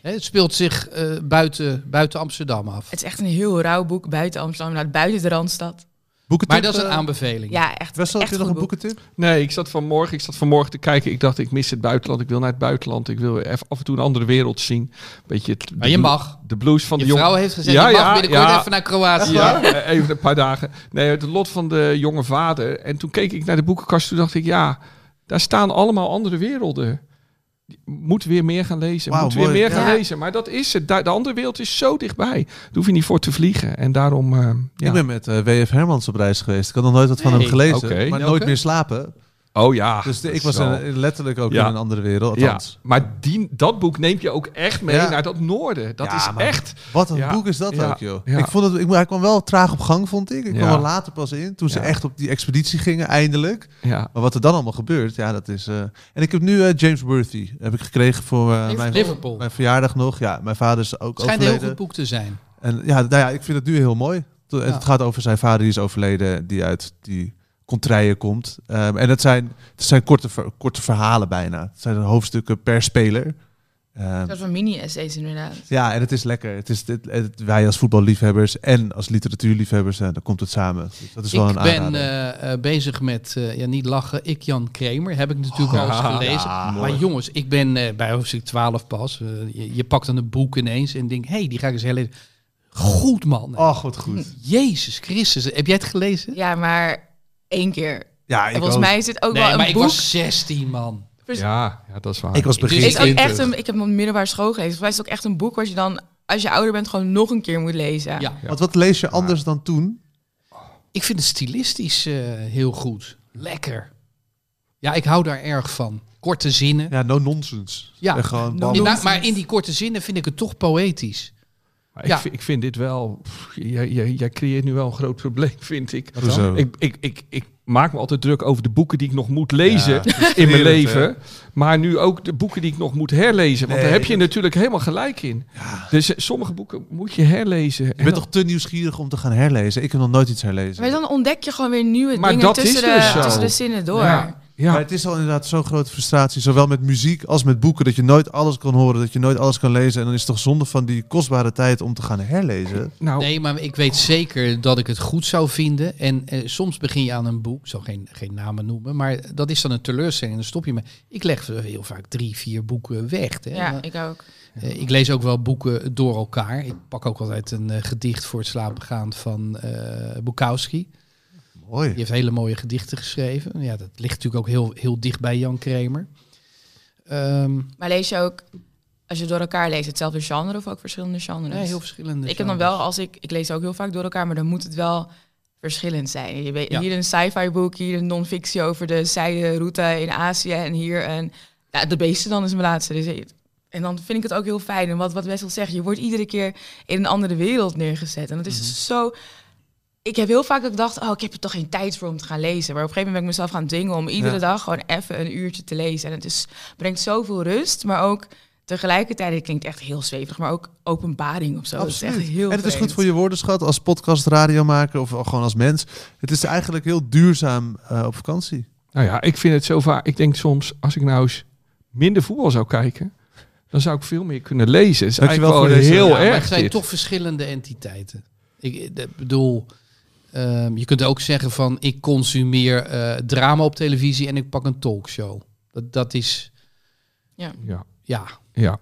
Speaker 2: Hè, Het speelt zich eh, buiten, buiten Amsterdam af.
Speaker 5: Het is echt een heel rauw boek buiten Amsterdam, nou, buiten de Randstad.
Speaker 3: Boekentip,
Speaker 2: Maar dat is een
Speaker 3: eh,
Speaker 2: aanbeveling.
Speaker 5: Ja, echt.
Speaker 3: Wessel,
Speaker 5: echt
Speaker 3: heb je nog
Speaker 5: goed
Speaker 3: een
Speaker 5: boek.
Speaker 3: boekentip?
Speaker 6: Nee, ik zat vanmorgen, ik zat vanmorgen te kijken. Ik dacht, ik mis het buitenland. Ik wil naar het buitenland. Ik wil even af en toe een andere wereld zien. Beetje het, de
Speaker 2: Maar je
Speaker 6: blu-
Speaker 2: mag.
Speaker 6: De blues van
Speaker 2: Je
Speaker 6: de jongen.
Speaker 2: vrouw heeft gezegd,
Speaker 6: Ja,
Speaker 2: je mag
Speaker 6: ja,
Speaker 2: binnenkort
Speaker 6: ja.
Speaker 2: even naar Kroatië.
Speaker 6: Ja, eh, even een paar dagen. Nee, het lot van de jonge vader. En toen keek ik naar de boekenkast. Toen dacht ik, ja, daar staan allemaal andere werelden. Moet weer meer gaan lezen.
Speaker 3: Wauw,
Speaker 6: moet
Speaker 3: mooi.
Speaker 6: weer meer gaan
Speaker 5: Ja.
Speaker 6: lezen. Maar dat is het. Daar- De andere wereld is zo dichtbij. Daar hoef je niet voor te vliegen. En daarom. eh, ja.
Speaker 3: Ik ben met eh, W.F. Hermans op reis geweest. Ik had nog nooit wat van hem
Speaker 2: Hey,
Speaker 3: gelezen,
Speaker 6: oké.
Speaker 3: maar
Speaker 2: Welke?
Speaker 3: nooit meer slapen.
Speaker 6: Oh ja.
Speaker 3: Dus de-
Speaker 6: dat
Speaker 3: ik
Speaker 6: is
Speaker 3: was
Speaker 6: wel-
Speaker 3: eh, letterlijk ook
Speaker 6: Ja.
Speaker 3: in een andere wereld.
Speaker 6: Ja,
Speaker 3: Althans.
Speaker 6: maar die, dat boek neem je ook echt mee
Speaker 3: Ja.
Speaker 6: naar dat noorden. Dat
Speaker 3: Ja,
Speaker 6: is
Speaker 3: maar-
Speaker 6: echt.
Speaker 3: Wat een
Speaker 6: Ja.
Speaker 3: boek is dat
Speaker 6: Ja.
Speaker 3: ook, joh.
Speaker 6: Ja.
Speaker 3: Ik vond het, ik, hij kwam wel traag op gang, vond ik. Ik kwam
Speaker 6: Ja.
Speaker 3: wel later pas in, toen ze
Speaker 6: Ja.
Speaker 3: echt op die expeditie gingen, eindelijk.
Speaker 6: Ja.
Speaker 3: Maar wat er dan allemaal gebeurt, ja, dat is... eh, En ik heb nu eh, James Worthy, heb ik gekregen voor eh, mijn,
Speaker 2: Liverpool.
Speaker 3: mijn verjaardag nog. Ja, mijn vader is ook
Speaker 2: Het schijnt een heel
Speaker 3: overleden.
Speaker 2: goed boek te zijn.
Speaker 3: En ja, nou ja, ik vind het nu heel mooi. To- en
Speaker 2: Ja.
Speaker 3: Het gaat over zijn vader die is overleden, die uit die contraien komt. Ehm, en het zijn, het zijn korte, ver- korte verhalen bijna. Het zijn hoofdstukken per speler. Ehm,
Speaker 5: Een soort van mini-essays inderdaad.
Speaker 3: ja, en het is lekker. Het is, het, het- wij als voetballiefhebbers en als literatuurliefhebbers, eh, dan komt het samen. Dus dat is wel
Speaker 2: Ik
Speaker 3: een
Speaker 2: ben
Speaker 3: aanrader.
Speaker 2: eh, eh, bezig met, eh, ja niet lachen, ik Jan Kramer. Heb ik natuurlijk al eens gelezen. maar jongens, ik ben eh, bij hoofdstuk 12 pas. Eh, je, je pakt dan een boek ineens en denkt, hé, hey, die ga ik eens herlezen. Goed man.
Speaker 3: Oh, wat
Speaker 2: Hmm.
Speaker 3: goed.
Speaker 2: Jezus Christus, heb jij het gelezen?
Speaker 5: Ja, maar één keer.
Speaker 3: Ja,
Speaker 5: En
Speaker 3: ik
Speaker 5: volgens
Speaker 3: ook.
Speaker 5: mij is dit ook
Speaker 2: nee,
Speaker 5: wel
Speaker 2: maar
Speaker 5: een
Speaker 2: ik
Speaker 5: boek.
Speaker 2: was 16 man.
Speaker 5: Dus-
Speaker 6: ja, ja, dat is waar.
Speaker 3: Ik was begin
Speaker 2: Dus
Speaker 5: is ook echt
Speaker 3: 20.
Speaker 5: een, ik heb hem op de middelbare school gelezen. Volgens mij is het ook echt een boek wat je dan, als je ouder bent, gewoon nog een keer moet lezen.
Speaker 2: Ja.
Speaker 3: Want wat lees je anders dan toen?
Speaker 2: Ik vind het stilistisch eh, heel goed. Lekker. Ja, ik hou daar erg van. Korte zinnen.
Speaker 3: Ja, no nonsense.
Speaker 2: Ja.
Speaker 3: En gewoon
Speaker 2: In-
Speaker 3: bam.
Speaker 2: maar- maar in die korte zinnen vind ik het toch poëtisch.
Speaker 6: Maar ik,
Speaker 2: Ja.
Speaker 6: vind- ik vind dit wel. pff, jij, jij, jij creëert nu wel een groot probleem, vind ik.
Speaker 3: Hoezo?
Speaker 6: Oh. Ik, ik, ik, ik maak me altijd druk over de boeken die ik nog moet lezen
Speaker 3: Ja,
Speaker 6: in mijn
Speaker 3: hè?
Speaker 6: leven. Maar nu ook de boeken die ik nog moet herlezen. Want
Speaker 3: Nee,
Speaker 6: daar heb je
Speaker 3: dat-
Speaker 6: natuurlijk helemaal gelijk in. Dus eh, sommige boeken moet je herlezen.
Speaker 3: Je bent toch te nieuwsgierig om te gaan herlezen? Ik heb nog nooit iets herlezen.
Speaker 5: Maar dan ontdek je gewoon weer nieuwe
Speaker 6: Maar
Speaker 5: dingen
Speaker 6: dat is
Speaker 5: tussen, de,
Speaker 6: dus zo.
Speaker 5: tussen de zinnen door.
Speaker 6: Ja. Ja.
Speaker 3: Maar het is al inderdaad zo'n grote frustratie, zowel met muziek als met boeken, dat je nooit alles kan horen, dat je nooit alles kan lezen. En dan is het toch zonde van die kostbare tijd om te gaan herlezen.
Speaker 6: Nou,
Speaker 2: Nee, maar ik weet zeker dat ik het goed zou vinden. En eh, soms begin je aan een boek, ik zal geen, geen namen noemen, maar dat is dan een teleurstelling. Dan stop je me. Ik leg heel vaak drie, vier boeken weg. Hè.
Speaker 5: Ja, ik ook.
Speaker 2: Eh, ik lees ook wel boeken door elkaar. Ik pak ook altijd een eh, gedicht voor het slapen gaan van eh Bukowski.
Speaker 3: Mooi.
Speaker 2: Die heeft hele mooie gedichten geschreven. Ja, dat ligt natuurlijk ook heel, heel dicht bij Jan Kramer. Ehm,
Speaker 5: Maar lees je ook, als je door elkaar leest, hetzelfde genre of ook verschillende genres?
Speaker 2: nee, heel verschillende.
Speaker 5: ik heb dan wel, als ik, ik lees ook heel vaak door elkaar, maar dan moet het wel verschillend zijn. Je weet,
Speaker 2: Ja.
Speaker 5: Hier een sci-fi boek, hier een non-fictie over de zijderoute in Azië en hier een... Ja, de beesten dan is mijn laatste. Dus, ik- en dan vind ik het ook heel fijn. En wat, wat Wessel zegt, je wordt iedere keer in een andere wereld neergezet. En dat
Speaker 3: Mhm.
Speaker 5: is dus zo... Ik heb heel vaak dat ik dacht, oh, ik heb er toch geen tijd voor om te gaan lezen. Maar op een gegeven moment ben ik mezelf gaan dwingen om iedere
Speaker 3: Ja.
Speaker 5: dag gewoon even een uurtje te lezen. En het is, brengt zoveel rust, maar ook tegelijkertijd, het klinkt echt heel zweverig, maar ook openbaring of zo. Dat is echt heel
Speaker 3: en het is goed
Speaker 5: vreemd.
Speaker 3: voor je woordenschat als podcast, radiomaker of gewoon als mens. Het is eigenlijk heel duurzaam eh, op vakantie.
Speaker 6: nou ja, ik vind het zo vaak. Ik denk soms, als ik nou eens minder voetbal zou kijken, dan zou ik veel meer kunnen lezen. Het is
Speaker 3: Dankjewel
Speaker 6: eigenlijk wel
Speaker 3: voor deze-
Speaker 6: heel
Speaker 3: Ja,
Speaker 2: maar
Speaker 6: erg.
Speaker 2: Het zijn
Speaker 6: dit.
Speaker 2: toch verschillende entiteiten. Ik eh, dat bedoel, ehm, je kunt ook zeggen van ik consumeer eh, drama op televisie en ik pak een talkshow. Dat, dat is,
Speaker 6: Ja,
Speaker 2: ja.
Speaker 6: ja.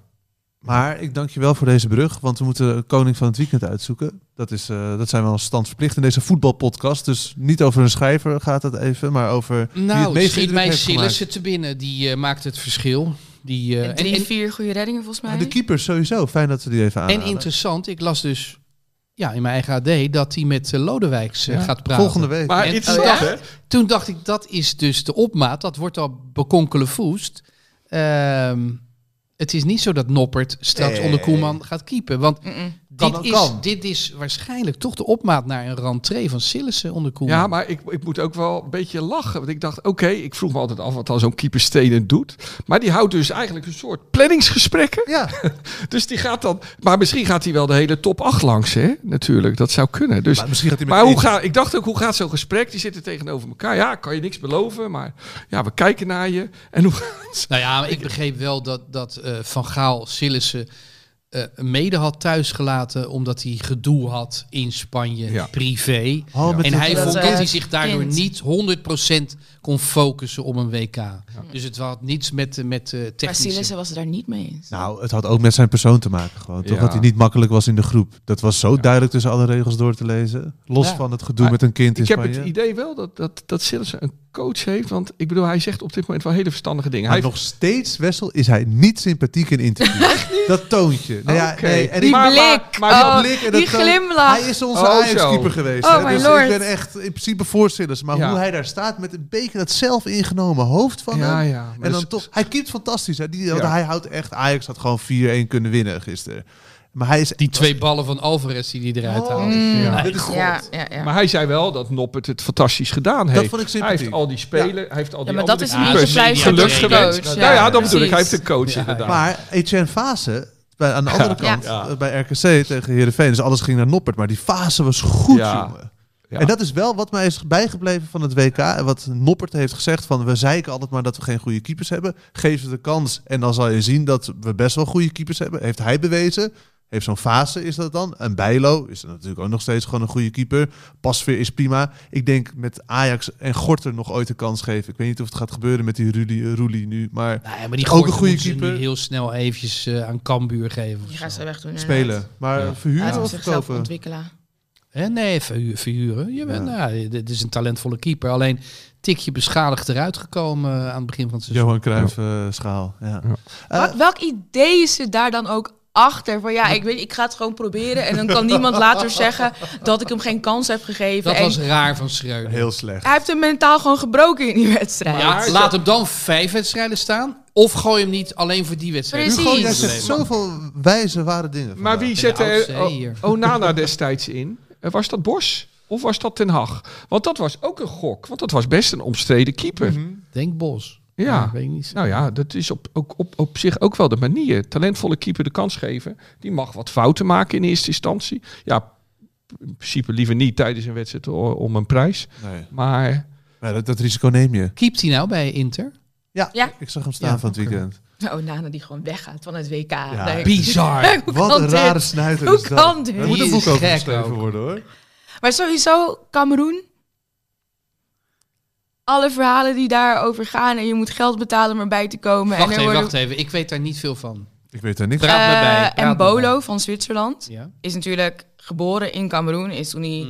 Speaker 3: Maar ik dank je wel voor deze brug, want we moeten de koning van het weekend uitzoeken. Dat, is, eh, dat zijn we als stand verplicht in deze voetbalpodcast. Dus niet over een schrijver gaat het even, maar over wie het
Speaker 2: Nou,
Speaker 3: meest
Speaker 2: schiet
Speaker 3: indruk
Speaker 2: mij
Speaker 3: heeft gemaakt.
Speaker 2: Sillissen te binnen. Die eh, maakt het verschil. Die, eh,
Speaker 5: En
Speaker 2: en,
Speaker 5: drie,
Speaker 2: en,
Speaker 5: vier goede reddingen volgens mij.
Speaker 3: Ah, de keeper sowieso, fijn dat ze die even
Speaker 2: en
Speaker 3: aanhalen.
Speaker 2: interessant, ik las dus ja, in mijn eigen AD dat hij met eh, Lodewijks eh,
Speaker 6: Ja,
Speaker 2: gaat praten.
Speaker 3: Volgende week.
Speaker 6: Maar
Speaker 2: En-
Speaker 6: interessant,
Speaker 2: oh ja?
Speaker 6: hè?
Speaker 2: Toen dacht ik, dat is dus de opmaat. Dat wordt al bekonkelen voest. Ehm, het is niet zo dat Noppert straks
Speaker 3: Nee.
Speaker 2: onder Koeman gaat keepen. Want
Speaker 5: Mm-mm.
Speaker 3: Kan
Speaker 2: dit,
Speaker 3: ook
Speaker 2: is,
Speaker 3: kan.
Speaker 2: dit is waarschijnlijk toch de opmaat naar een rentree van Sillissen onder Koeman.
Speaker 6: Ja, maar ik, ik moet ook wel een beetje lachen. Want ik dacht, oké, ik vroeg me altijd af wat dan zo'n keeper Stenen doet. Maar die houdt dus eigenlijk een soort planningsgesprekken.
Speaker 3: Ja,
Speaker 6: Dus die gaat dan... Maar misschien gaat hij wel de hele top 8 langs, hè? Natuurlijk, dat zou kunnen. Dus,
Speaker 3: maar misschien gaat hij met
Speaker 6: maar hoe
Speaker 3: één-
Speaker 6: ga, ik dacht ook, hoe gaat zo'n gesprek? Die zitten tegenover elkaar. Ja, kan je niks beloven, maar ja, we kijken naar je. En hoe
Speaker 2: Nou ja, maar ik begreep wel dat, dat eh, Van Gaal Sillissen eh, mede had thuisgelaten. Omdat hij gedoe had in Spanje,
Speaker 6: Ja.
Speaker 2: privé.
Speaker 3: Oh, met
Speaker 2: En
Speaker 3: de-
Speaker 2: hij
Speaker 5: Dat,
Speaker 2: vond dat
Speaker 5: eh,
Speaker 2: hij zich daardoor
Speaker 5: kind.
Speaker 2: niet 100% kon focussen op een WK. Dus het had niets met, eh, met eh
Speaker 5: Maar
Speaker 2: technische...
Speaker 5: Sillissen was het daar niet mee eens.
Speaker 3: Nou, het had ook met zijn persoon te maken gewoon. Toch
Speaker 6: Ja.
Speaker 3: dat hij niet makkelijk was in de groep. Dat was zo duidelijk tussen alle regels door te lezen. Los
Speaker 2: Ja.
Speaker 3: van het gedoe
Speaker 6: Maar
Speaker 3: met een kind in
Speaker 6: Ik heb
Speaker 3: Spanje.
Speaker 6: het idee wel dat, dat, dat Sillissen een coach heeft. Want ik bedoel, hij zegt op dit moment wel hele verstandige dingen.
Speaker 3: Maar
Speaker 6: Hij
Speaker 3: nog steeds, Wessel, is hij niet sympathiek in interviews. dat toontje. Nou ja,
Speaker 6: Oké.
Speaker 3: nee, en
Speaker 5: Die
Speaker 3: ik-
Speaker 6: Maar-
Speaker 5: blik,
Speaker 6: maar- maar
Speaker 5: oh,
Speaker 3: die blik en
Speaker 5: die
Speaker 3: dat toon-
Speaker 5: glimlach.
Speaker 3: Hij is onze
Speaker 6: Oh,
Speaker 3: Ajax-keeper
Speaker 6: zo.
Speaker 3: geweest.
Speaker 5: Oh,
Speaker 3: hè,
Speaker 5: my
Speaker 3: dus
Speaker 5: lord.
Speaker 3: ik ben echt in principe voor Sillissen. Maar
Speaker 6: Ja.
Speaker 3: hoe hij daar staat met een beetje dat zelf ingenomen hoofd van
Speaker 6: ja,
Speaker 3: hem.
Speaker 6: ja. maar
Speaker 3: En dan
Speaker 6: dus-
Speaker 3: toch, hij keept fantastisch. Hè? Die,
Speaker 6: Ja.
Speaker 3: Hij houdt echt, Ajax had gewoon 4-1 kunnen winnen gisteren. Maar hij is
Speaker 2: Die twee ballen van Alvarez die hij eruit
Speaker 3: Oh,
Speaker 2: haalde.
Speaker 5: Mm,
Speaker 6: Ja.
Speaker 3: dit is goed.
Speaker 5: ja, ja, ja.
Speaker 6: Maar hij zei wel dat Noppert het fantastisch gedaan heeft.
Speaker 3: vond ik
Speaker 6: hij
Speaker 3: sympathiek.
Speaker 6: heeft al die spelers, hij heeft al die
Speaker 5: maar dat is
Speaker 6: andere
Speaker 5: een
Speaker 2: keepers.
Speaker 5: beetje
Speaker 2: Ja,
Speaker 5: prijs
Speaker 2: dat
Speaker 5: van
Speaker 2: is
Speaker 5: de
Speaker 6: gelukkig
Speaker 2: gelukkig
Speaker 5: coach.
Speaker 2: geweest.
Speaker 6: Nou ja, dat bedoel ik.
Speaker 5: precies.
Speaker 6: Hij heeft een coach inderdaad.
Speaker 3: Maar Etienne Fase, bij, aan de andere kant,
Speaker 5: Ja.
Speaker 3: eh, bij RKC tegen Heerenveen, dus alles ging naar Noppert. Maar die Fase was goed,
Speaker 6: Ja.
Speaker 3: jongen.
Speaker 6: Ja.
Speaker 3: En dat is wel wat mij is bijgebleven van het WK. En wat Noppert heeft gezegd van, we zeiken altijd maar dat we geen goede keepers hebben. Geef ze de kans en dan zal je zien dat we best wel goede keepers hebben. Heeft hij bewezen. Heeft zo'n fase is dat dan. En Bijlo is dan natuurlijk ook nog steeds gewoon een goede keeper. Pasveer is prima. Ik denk met Ajax en Gorter nog ooit een kans geven. Ik weet niet of het gaat gebeuren met die Ruli- Roelie nu. Maar
Speaker 2: Nou ja, maar die
Speaker 3: Ook een
Speaker 2: Gorter
Speaker 3: goede
Speaker 2: moeten ze nu
Speaker 3: keeper.
Speaker 2: heel snel eventjes eh, aan Cambuur geven. of
Speaker 5: Die gaan
Speaker 2: zo.
Speaker 5: ze weg doen.
Speaker 3: spelen. Maar
Speaker 6: Ja.
Speaker 5: Ja,
Speaker 3: verhuren
Speaker 5: hij moet
Speaker 3: of
Speaker 5: zichzelf
Speaker 3: verkopen?
Speaker 5: ontwikkelen.
Speaker 2: Hè? Nee, verhu- verhuren. Je bent,
Speaker 3: Ja.
Speaker 2: nou, dit is een talentvolle keeper. Alleen tikje beschadigd eruit gekomen eh, aan het begin van het seizoen.
Speaker 3: Johan Cruijff eh, schaal. Ja. Eh,
Speaker 5: Wat- welk idee is er daar dan ook achter? Van ja, ik, weet, ik ga het gewoon proberen. En dan kan niemand later zeggen dat ik hem geen kans heb gegeven.
Speaker 2: Dat
Speaker 5: En
Speaker 2: was raar van Schreuder.
Speaker 3: Heel slecht.
Speaker 5: Hij heeft hem mentaal gewoon gebroken in die wedstrijd.
Speaker 2: Ja, laat hem dan vijf wedstrijden staan. Of gooi hem niet alleen voor die wedstrijd.
Speaker 5: Precies.
Speaker 3: Hugo, jij
Speaker 5: Precies.
Speaker 3: zegt zoveel wijze, ware dingen.
Speaker 6: Maar
Speaker 3: vandaag.
Speaker 6: wie
Speaker 2: de
Speaker 6: zette
Speaker 2: oudste,
Speaker 6: er-
Speaker 2: hè, hier.
Speaker 6: O- Onana destijds in? Eh, Was dat Bos? Of was dat Ten Hag? Want dat was ook een gok. Want dat was best een omstreden keeper.
Speaker 3: Mhm.
Speaker 2: Denk Bos.
Speaker 6: Ja.
Speaker 2: ik weet niet.
Speaker 6: Nou ja, dat is op, ook, op, op zich ook wel de manier. Talentvolle keeper de kans geven. Die mag wat fouten maken in eerste instantie. Ja, in principe liever niet tijdens een wedstrijd o- om een prijs.
Speaker 3: Nee.
Speaker 6: Maar
Speaker 3: Ja, dat, dat risico neem je.
Speaker 2: Keept hij nou bij Inter?
Speaker 3: Ja,
Speaker 5: Ja.
Speaker 3: ik zag hem staan
Speaker 2: Ja,
Speaker 3: van het
Speaker 2: oké.
Speaker 3: weekend.
Speaker 5: Nou, Nana die gewoon weggaat van het WK.
Speaker 3: Ja.
Speaker 5: Nee.
Speaker 2: Bizar.
Speaker 5: Hoe
Speaker 3: Wat
Speaker 5: kan
Speaker 3: een
Speaker 5: dit?
Speaker 3: rare snuiter
Speaker 5: Hoe
Speaker 3: is dat.
Speaker 5: kan dit?
Speaker 3: Er moet een
Speaker 2: Die
Speaker 3: boek
Speaker 2: is
Speaker 3: over
Speaker 2: gek
Speaker 3: geschreven
Speaker 2: ook.
Speaker 3: worden hoor.
Speaker 5: Maar sowieso, Cameroen. Alle verhalen die daarover gaan en je moet geld betalen om erbij te komen.
Speaker 2: Wacht
Speaker 5: en er
Speaker 2: even,
Speaker 5: worden-
Speaker 2: wacht even. Ik weet daar niet veel van.
Speaker 3: Ik weet daar niks
Speaker 2: Praat maar bij,
Speaker 5: Eh, en
Speaker 2: praat maar
Speaker 5: Bolo van Zwitserland
Speaker 2: Ja.
Speaker 5: is natuurlijk geboren in Cameroen. Is toen hij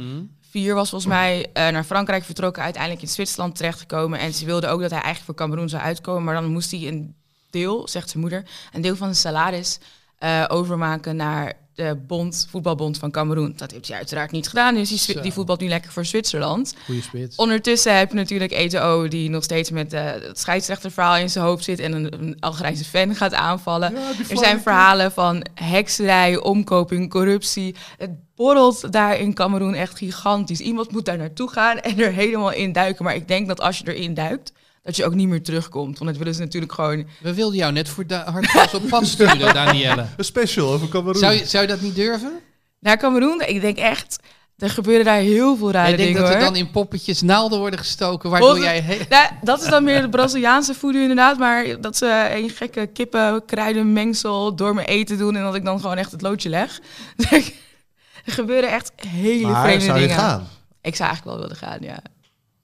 Speaker 5: vier was volgens mij eh, naar Frankrijk vertrokken. Uiteindelijk in Zwitserland terechtgekomen. En ze wilde ook dat hij eigenlijk voor Cameroen zou uitkomen. Maar dan moest hij een deel, zegt zijn moeder, een deel van zijn salaris eh, overmaken naar de bond, voetbalbond van Cameroen. Dat heeft hij uiteraard niet gedaan. Dus die, Zwi-
Speaker 2: Zo.
Speaker 5: die voetbalt nu lekker voor Zwitserland.
Speaker 2: Goeie spits.
Speaker 5: Ondertussen heb je natuurlijk ETO die nog steeds met eh, het scheidsrechterverhaal in zijn hoofd zit en een, een Algerijnse fan gaat aanvallen. er zijn verhalen van hekserij, omkoping, corruptie. Het borrelt daar in Cameroen echt gigantisch. Iemand moet daar naartoe gaan en er helemaal in duiken. Maar ik denk dat als je erin duikt, dat je ook niet meer terugkomt. Want het willen ze natuurlijk gewoon...
Speaker 2: We wilden jou net voor da- hardgas op pad sturen, Danielle.
Speaker 3: Een special over Cameroen.
Speaker 2: Zou je, zou je dat niet durven?
Speaker 5: Naar Cameroen, ik denk echt, er gebeuren daar heel veel rare
Speaker 2: ik denk
Speaker 5: dingen
Speaker 2: dat er
Speaker 5: hoor.
Speaker 2: dan in poppetjes naalden worden gestoken, waardoor
Speaker 5: Volgens-
Speaker 2: jij... he-
Speaker 5: Nou, dat is dan meer de Braziliaanse voeding inderdaad. Maar dat ze een gekke kippen, kruidenmengsel door mijn eten doen. En dat ik dan gewoon echt het loodje leg. er gebeuren echt hele
Speaker 3: maar
Speaker 5: vreemde
Speaker 3: zou je
Speaker 5: dingen.
Speaker 3: gaan?
Speaker 5: Ik zou eigenlijk wel willen gaan, ja.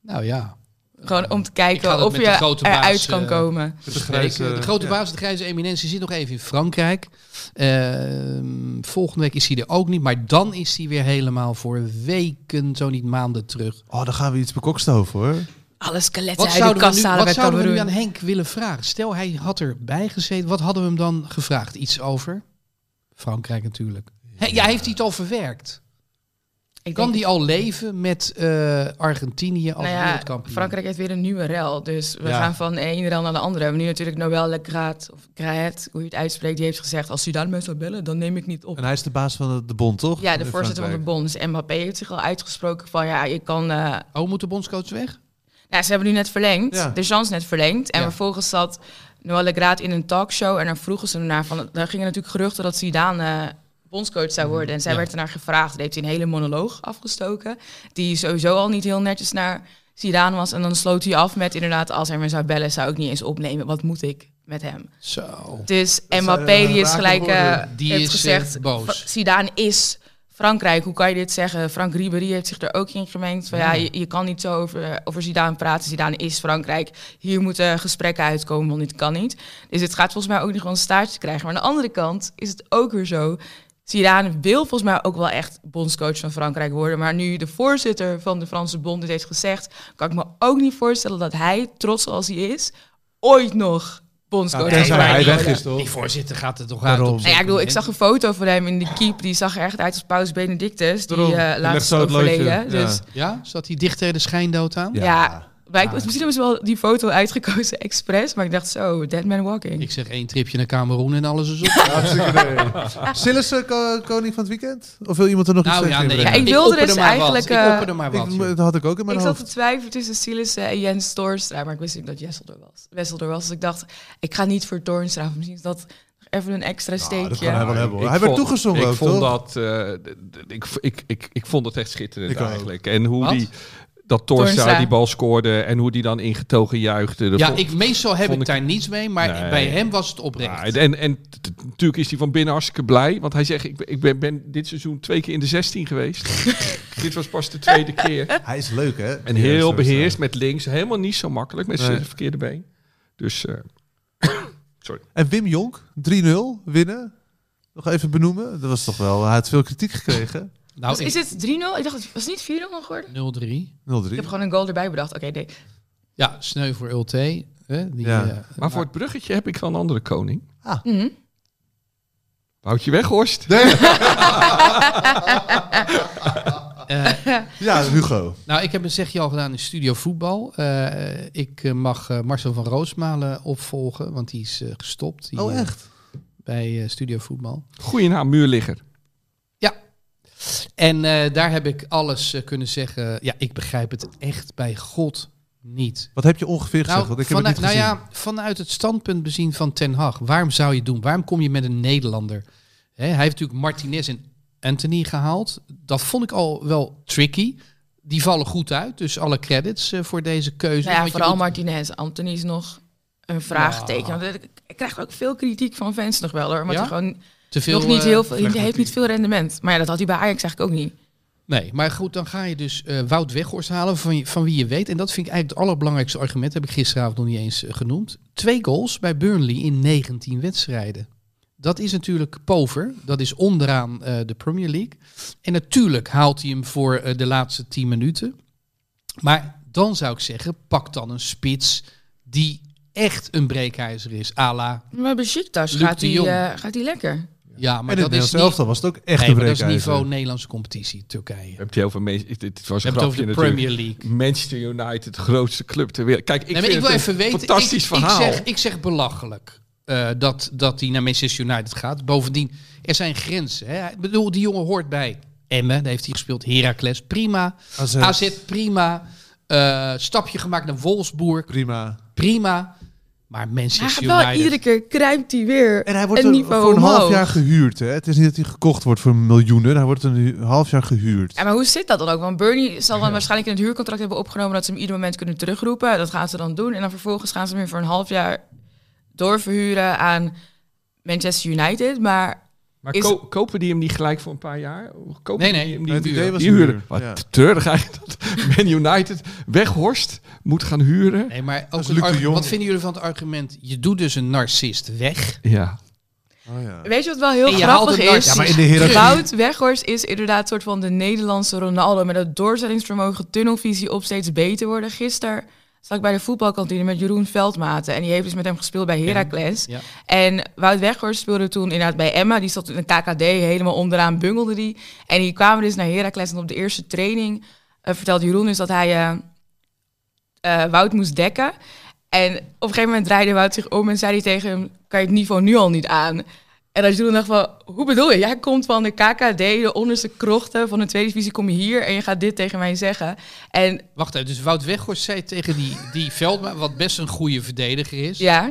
Speaker 2: Nou ja.
Speaker 5: Gewoon om te
Speaker 2: ik ga
Speaker 5: kijken
Speaker 2: dat
Speaker 5: of
Speaker 2: met
Speaker 5: je
Speaker 2: de grote baas,
Speaker 5: eruit kan
Speaker 2: eh,
Speaker 5: komen.
Speaker 3: Met
Speaker 2: Ik, eh, de grote baas, de grijze eminentie, zit nog even in Frankrijk. Ehm, volgende week is hij er ook niet, maar dan is hij weer helemaal voor weken, zo niet maanden terug.
Speaker 3: Oh, dan gaan we iets bekokstoven hoor.
Speaker 5: Alle skeletten
Speaker 2: Wat
Speaker 5: uit de
Speaker 2: zouden, we
Speaker 5: kast
Speaker 2: nu,
Speaker 5: halen
Speaker 2: wat
Speaker 5: bij
Speaker 2: zouden we nu aan
Speaker 5: Cameroen.
Speaker 2: Henk willen vragen? Stel, hij had erbij gezeten. Wat hadden we hem dan gevraagd? Iets over? Frankrijk natuurlijk. He- ja, heeft hij het al verwerkt?
Speaker 5: Ik
Speaker 2: Kan
Speaker 5: denk-
Speaker 2: die al leven met eh, Argentinië als
Speaker 5: nou ja,
Speaker 2: wereldkampioen?
Speaker 5: Frankrijk heeft weer een nieuwe rel. Dus we
Speaker 2: Ja.
Speaker 5: gaan van de ene rel naar de andere. We hebben nu natuurlijk Noël Legraat, of Graet, hoe je het uitspreekt. Die heeft gezegd, als Sudan mij zou bellen, dan neem ik niet op.
Speaker 3: En hij is de baas van de, de bond, toch?
Speaker 5: Ja,
Speaker 3: In
Speaker 5: de voorzitter van de
Speaker 3: Frankrijk.
Speaker 5: bond. Dus Mbappé heeft zich al uitgesproken van ja, je kan. eh,
Speaker 2: Oh, moet de bondscoach weg?
Speaker 5: nou, ze hebben nu net verlengd,
Speaker 3: Ja.
Speaker 5: de chance net verlengd. En
Speaker 2: Ja.
Speaker 5: vervolgens zat Noël Graat in een talkshow en dan vroegen ze ernaar van. Daar gingen natuurlijk geruchten dat Zidane eh, bondscoach zou worden. En zij
Speaker 2: Ja.
Speaker 5: werd ernaar gevraagd. Daar heeft hij een hele monoloog afgestoken, die sowieso al niet heel netjes naar Zidane was. En dan sloot hij af met inderdaad, als hij me zou bellen, zou ik niet eens opnemen. Wat moet ik met hem?
Speaker 2: Zo.
Speaker 5: Dus
Speaker 3: zijn,
Speaker 5: Mbappé
Speaker 3: eh,
Speaker 5: die is
Speaker 3: rake
Speaker 5: gelijk eh,
Speaker 3: woorden.
Speaker 2: Die
Speaker 5: heeft
Speaker 2: is, eh,
Speaker 5: gezegd,
Speaker 2: boos.
Speaker 5: Fra- Zidane is Frankrijk, hoe kan je dit zeggen? Frank Ribéry heeft zich er ook in gemengd. Van, ja. je, je kan niet zo over, eh, over Zidane praten, Zidane is Frankrijk. Hier moeten gesprekken uitkomen, want dit kan niet. Dus het gaat volgens mij ook nog wel een staartje krijgen. Maar aan de andere kant is het ook weer zo... Zidane wil volgens mij ook wel echt bondscoach van Frankrijk worden. Maar nu de voorzitter van de Franse bond dit heeft gezegd... kan ik me ook niet voorstellen dat hij, trots als hij is... ooit nog bondscoach
Speaker 3: Nou,
Speaker 5: gaat
Speaker 3: tenzij hij
Speaker 5: worden.
Speaker 3: weg is, toch?
Speaker 2: Die voorzitter gaat er toch
Speaker 3: Daarom.
Speaker 2: uit op
Speaker 5: Nou ja,
Speaker 2: zo'n
Speaker 5: ik bedoel, ik
Speaker 2: moment.
Speaker 5: zag een foto van hem in de keep. Die zag er echt uit als Paus Benedictus. Die
Speaker 3: Daarom.
Speaker 5: eh,
Speaker 3: Die legt
Speaker 5: laatst
Speaker 3: zo
Speaker 5: is
Speaker 3: het loodje.
Speaker 5: overleden.
Speaker 3: Ja.
Speaker 5: Dus
Speaker 2: Ja? Zat hij dicht tegen de schijndood aan?
Speaker 5: ja. Maar ik, misschien hebben ze wel die foto uitgekozen expres. Maar ik dacht zo, Dead Man Walking.
Speaker 2: Ik zeg één tripje naar Cameroen en alles is op.
Speaker 3: Sillis eh, ko- koning van het weekend? Of wil iemand er nog
Speaker 2: nou
Speaker 3: iets
Speaker 2: ja,
Speaker 3: tegen
Speaker 2: nee.
Speaker 5: Ja,
Speaker 3: brengen?
Speaker 5: ik wilde
Speaker 2: opperde
Speaker 5: dus
Speaker 2: maar wat.
Speaker 5: eigenlijk,
Speaker 2: Ik
Speaker 5: eh,
Speaker 2: opperde maar wat.
Speaker 3: Ik-
Speaker 2: joh.
Speaker 3: dat had ik ook in mijn
Speaker 5: ik zat
Speaker 3: hoofd.
Speaker 5: te twijfelen tussen Silissen en Jens Toornstra. Maar ik wist niet dat Jessel er was. Wessel er was. Dus ik dacht, ik ga niet voor Toornstra. of Misschien is dat nog even een extra
Speaker 3: Ah, dat
Speaker 5: steekje.
Speaker 3: kan hij wel hebben hoor. Hij
Speaker 6: Ik
Speaker 3: werd
Speaker 6: vond-
Speaker 3: toegezongen
Speaker 6: ik
Speaker 3: ook,
Speaker 6: vond
Speaker 3: toch?
Speaker 6: Dat, eh, d- d- ik, v- ik, ik, ik vond het echt schitterend
Speaker 3: Ik ook.
Speaker 6: eigenlijk. En hoe
Speaker 2: Wat?
Speaker 6: die, dat Torsa
Speaker 5: Tornstra.
Speaker 6: die bal scoorde en hoe die dan ingetogen juichte. Dat
Speaker 2: Ja,
Speaker 6: vond-
Speaker 2: ik, meestal heb
Speaker 6: vond
Speaker 2: ik
Speaker 6: ik-
Speaker 2: daar niets mee, maar
Speaker 6: Nee.
Speaker 2: bij hem was het oprecht.
Speaker 6: Ja, Ah, en en t- t- natuurlijk is hij van binnen hartstikke blij. Want hij zegt, ik, ben- ik ben, ben dit seizoen twee keer in de 16 geweest. dit was pas de tweede keer.
Speaker 3: Hij is leuk, hè?
Speaker 6: En
Speaker 3: Ja,
Speaker 6: heel
Speaker 3: sowieso.
Speaker 6: beheerst met links. Helemaal niet zo makkelijk met
Speaker 3: Nee.
Speaker 6: zijn verkeerde been. Dus eh,
Speaker 3: En Wim Jonk, 3-0 winnen. Nog even benoemen. Dat was toch wel... Hij had veel kritiek gekregen. 0-3.
Speaker 2: Nou,
Speaker 5: Dus is het 3-0? Ik dacht, het was niet 4-0 nog geworden?
Speaker 2: 0-3.
Speaker 5: Ik heb gewoon een goal erbij bedacht. Oké, nee.
Speaker 2: Ja, sneu voor Ulte. Hè? Die,
Speaker 3: Ja.
Speaker 2: eh,
Speaker 6: maar voor het bruggetje heb ik wel een andere koning.
Speaker 5: Mhm.
Speaker 6: Woutje Weghorst.
Speaker 2: eh,
Speaker 3: Ja, Hugo.
Speaker 2: Nou, ik heb een zegje al gedaan in Studio Voetbal. Eh, ik eh, mag eh, Marcel van Roosmalen opvolgen, want die is eh, gestopt. Die,
Speaker 3: Oh,
Speaker 2: eh,
Speaker 3: echt?
Speaker 2: bij eh, Studio Voetbal.
Speaker 6: Goeie naam, muurligger.
Speaker 2: En eh, daar heb ik alles eh, kunnen zeggen. Ja, ik begrijp het echt bij God niet.
Speaker 3: Wat heb je ongeveer gezegd?
Speaker 2: Nou,
Speaker 3: Want ik heb het
Speaker 2: vanuit-
Speaker 3: niet
Speaker 2: nou
Speaker 3: gezien.
Speaker 2: ja, vanuit het standpunt bezien van Ten Hag, waarom zou je het doen? Waarom kom je met een Nederlander? Hè, hij heeft natuurlijk Martinez en Anthony gehaald. Dat vond ik al wel tricky. die vallen goed uit. Dus alle credits eh, voor deze keuze.
Speaker 5: Nou ja,
Speaker 2: Want je
Speaker 5: vooral
Speaker 2: moet-
Speaker 5: Martinez. Anthony is nog een vraagteken. Want ik- ik krijg ook veel kritiek van fans nog wel hoor. Maar
Speaker 2: Ja?
Speaker 5: gewoon
Speaker 2: te veel,
Speaker 5: nog niet
Speaker 2: eh,
Speaker 5: heel veel, hij heeft
Speaker 3: vlechtmatiek.
Speaker 5: niet veel rendement. Maar ja, dat had hij bij Ajax eigenlijk ook niet.
Speaker 2: Nee, maar goed, dan ga je dus eh, Wout Weghorst halen van, je- van wie je weet. En dat vind ik eigenlijk het allerbelangrijkste argument. Heb ik gisteravond nog niet eens eh, genoemd. Twee goals bij Burnley in 19 wedstrijden. Dat is natuurlijk pover. Dat is onderaan eh, de Premier League. En natuurlijk haalt hij hem voor eh, de laatste 10 minuten. Maar dan zou ik zeggen, pak dan een spits die echt een breekijzer is. Ala.
Speaker 5: Maar bij Besiktas
Speaker 2: Luc
Speaker 5: gaat
Speaker 2: de
Speaker 5: hij,
Speaker 2: Jong.
Speaker 5: eh, gaat hij lekker.
Speaker 2: Ja, maar
Speaker 3: en het
Speaker 2: dat is
Speaker 3: Nederlands
Speaker 2: niet...
Speaker 3: elftal was het ook echt
Speaker 2: Nee,
Speaker 3: een
Speaker 2: maar dat is
Speaker 3: breekijzer.
Speaker 2: niveau Nederlandse competitie, Turkije.
Speaker 6: Heb je over mensen? Dit was
Speaker 2: We
Speaker 6: een
Speaker 2: hebben het over
Speaker 6: grapje
Speaker 2: de
Speaker 6: natuurlijk.
Speaker 2: Premier League.
Speaker 6: Manchester United, de grootste club ter wereld. Kijk, ik
Speaker 2: Nee, maar
Speaker 6: vind
Speaker 2: ik wil
Speaker 6: het
Speaker 2: even
Speaker 6: een
Speaker 2: weten.
Speaker 6: fantastisch
Speaker 2: ik,
Speaker 6: verhaal.
Speaker 2: Ik zeg, ik zeg belachelijk eh, dat, dat hij naar Manchester United gaat. Bovendien, er zijn grenzen. Hè. Ik bedoel, die jongen hoort bij Emmen. Daar heeft hij gespeeld. Heracles, prima.
Speaker 3: AZ.
Speaker 2: AZ, prima. Eh, stapje gemaakt naar Wolfsburg,
Speaker 3: Prima.
Speaker 2: prima. Maar
Speaker 5: Hij gaat
Speaker 2: Manchester
Speaker 5: wel
Speaker 2: United...
Speaker 5: iedere keer kruipt hij weer.
Speaker 3: En hij wordt
Speaker 5: een
Speaker 3: er
Speaker 5: niveau
Speaker 3: voor een half
Speaker 5: omhoog.
Speaker 3: jaar gehuurd. Hè? Het is niet dat hij gekocht wordt voor miljoenen. Hij wordt een hu- half jaar gehuurd.
Speaker 5: Ja, maar hoe zit dat dan ook? Want Bernie zal dan waarschijnlijk in het huurcontract hebben opgenomen dat ze hem ieder moment kunnen terugroepen. Dat gaan ze dan doen. En dan vervolgens gaan ze hem weer voor een half jaar doorverhuren aan Manchester United. Maar
Speaker 6: maar
Speaker 5: is-
Speaker 6: ko- kopen die hem niet gelijk voor een paar jaar? Kopen
Speaker 2: Nee, nee.
Speaker 6: Die hem
Speaker 3: Maar
Speaker 6: niet
Speaker 3: het
Speaker 2: huur.
Speaker 3: idee was
Speaker 6: Die
Speaker 3: een
Speaker 6: huren.
Speaker 3: huur.
Speaker 6: Wat
Speaker 3: Ja.
Speaker 6: treurig eigenlijk dat Man United Weghorst moet gaan huren.
Speaker 2: Nee, maar ook
Speaker 3: is
Speaker 2: het
Speaker 3: Luc de
Speaker 2: argu-
Speaker 3: Jong.
Speaker 2: wat vinden jullie van het argument? Je doet dus een narcist weg.
Speaker 6: Ja.
Speaker 3: Oh, ja.
Speaker 5: weet je wat wel heel
Speaker 2: En je haalt
Speaker 5: grappig
Speaker 2: hem nooit-
Speaker 5: is?
Speaker 3: Ja, maar in de hiërarchie...
Speaker 5: Wout Weghorst is inderdaad een soort van de Nederlandse Ronaldo. Met dat doorzettingsvermogen, tunnelvisie op steeds beter worden. Gisteren zat ik bij de voetbalkantine met Jeroen Veldmaten. En die heeft dus met hem gespeeld bij Heracles.
Speaker 2: Ja.
Speaker 5: En Wout Weghorst speelde toen inderdaad bij Emma. Die zat in een KKD, helemaal onderaan bungelde die. En die kwamen dus naar Heracles. En op de eerste training eh, vertelde Jeroen dus dat hij eh, eh, Wout moest dekken. En op een gegeven moment draaide Wout zich om en zei hij tegen hem... kan je het niveau nu al niet aan? En als Jeroen dacht van, hoe bedoel je? Jij komt van de KKD, de onderste krochten van de tweede divisie, kom je hier en je gaat dit tegen mij zeggen. En
Speaker 2: Wacht even, dus Wout Weghorst zei tegen die, die Veldman, wat best een goede verdediger is.
Speaker 5: ja,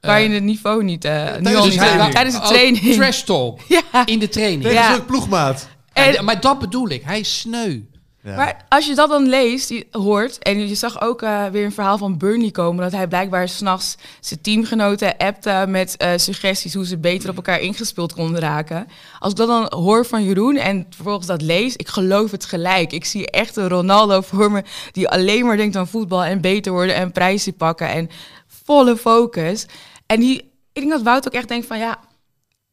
Speaker 5: kan je het niveau niet... eh, nu al
Speaker 3: de
Speaker 5: niet
Speaker 3: training.
Speaker 5: aan? Tijdens de
Speaker 2: Oh,
Speaker 5: training.
Speaker 2: trash talk.
Speaker 5: Ja.
Speaker 2: In de training.
Speaker 3: Tegen
Speaker 5: Ja.
Speaker 3: zijn ploegmaat.
Speaker 5: En-
Speaker 2: Ja, maar dat bedoel ik. Hij is sneu.
Speaker 3: Ja.
Speaker 5: Maar als je dat dan leest, die- hoort, en je zag ook eh, weer een verhaal van Burnley komen, dat hij blijkbaar s'nachts zijn teamgenoten appte met eh, suggesties hoe ze beter op elkaar ingespeeld konden raken. Als ik dat dan hoor van Jeroen en vervolgens dat lees, ik geloof het gelijk. Ik zie echt een Ronaldo voor me die alleen maar denkt aan voetbal en beter worden en prijzen pakken en volle focus. En die, ik denk dat Wout ook echt denkt van ja,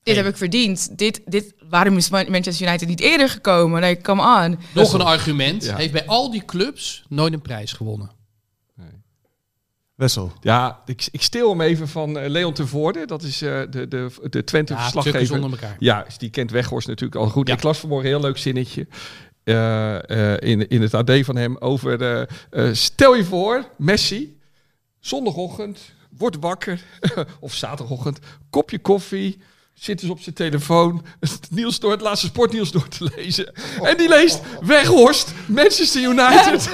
Speaker 5: dit heb ik verdiend. Dit, dit, waarom is Man- Manchester United niet eerder gekomen? Nee, come on.
Speaker 2: Nog een argument.
Speaker 6: Ja.
Speaker 2: Heeft bij al die clubs nooit een prijs gewonnen.
Speaker 3: Wessel.
Speaker 6: Ja, ik, ik stil hem even van eh, Leon Tervoorde. Dat is eh, de, de, de
Speaker 2: Tukkers
Speaker 6: Twente-verslaggever.
Speaker 2: onder elkaar.
Speaker 6: Ja, dus die kent Weghorst natuurlijk al goed.
Speaker 2: Ja.
Speaker 6: Ik las vanmorgen een heel leuk zinnetje eh, eh, in, in het AD van hem over... eh, eh, stel je voor, Messi, zondagochtend, wordt wakker, of zaterdagochtend, kopje koffie... Zit dus op zijn telefoon het, nieuws door, het laatste sportnieuws door te lezen. En die leest Weghorst, Manchester United.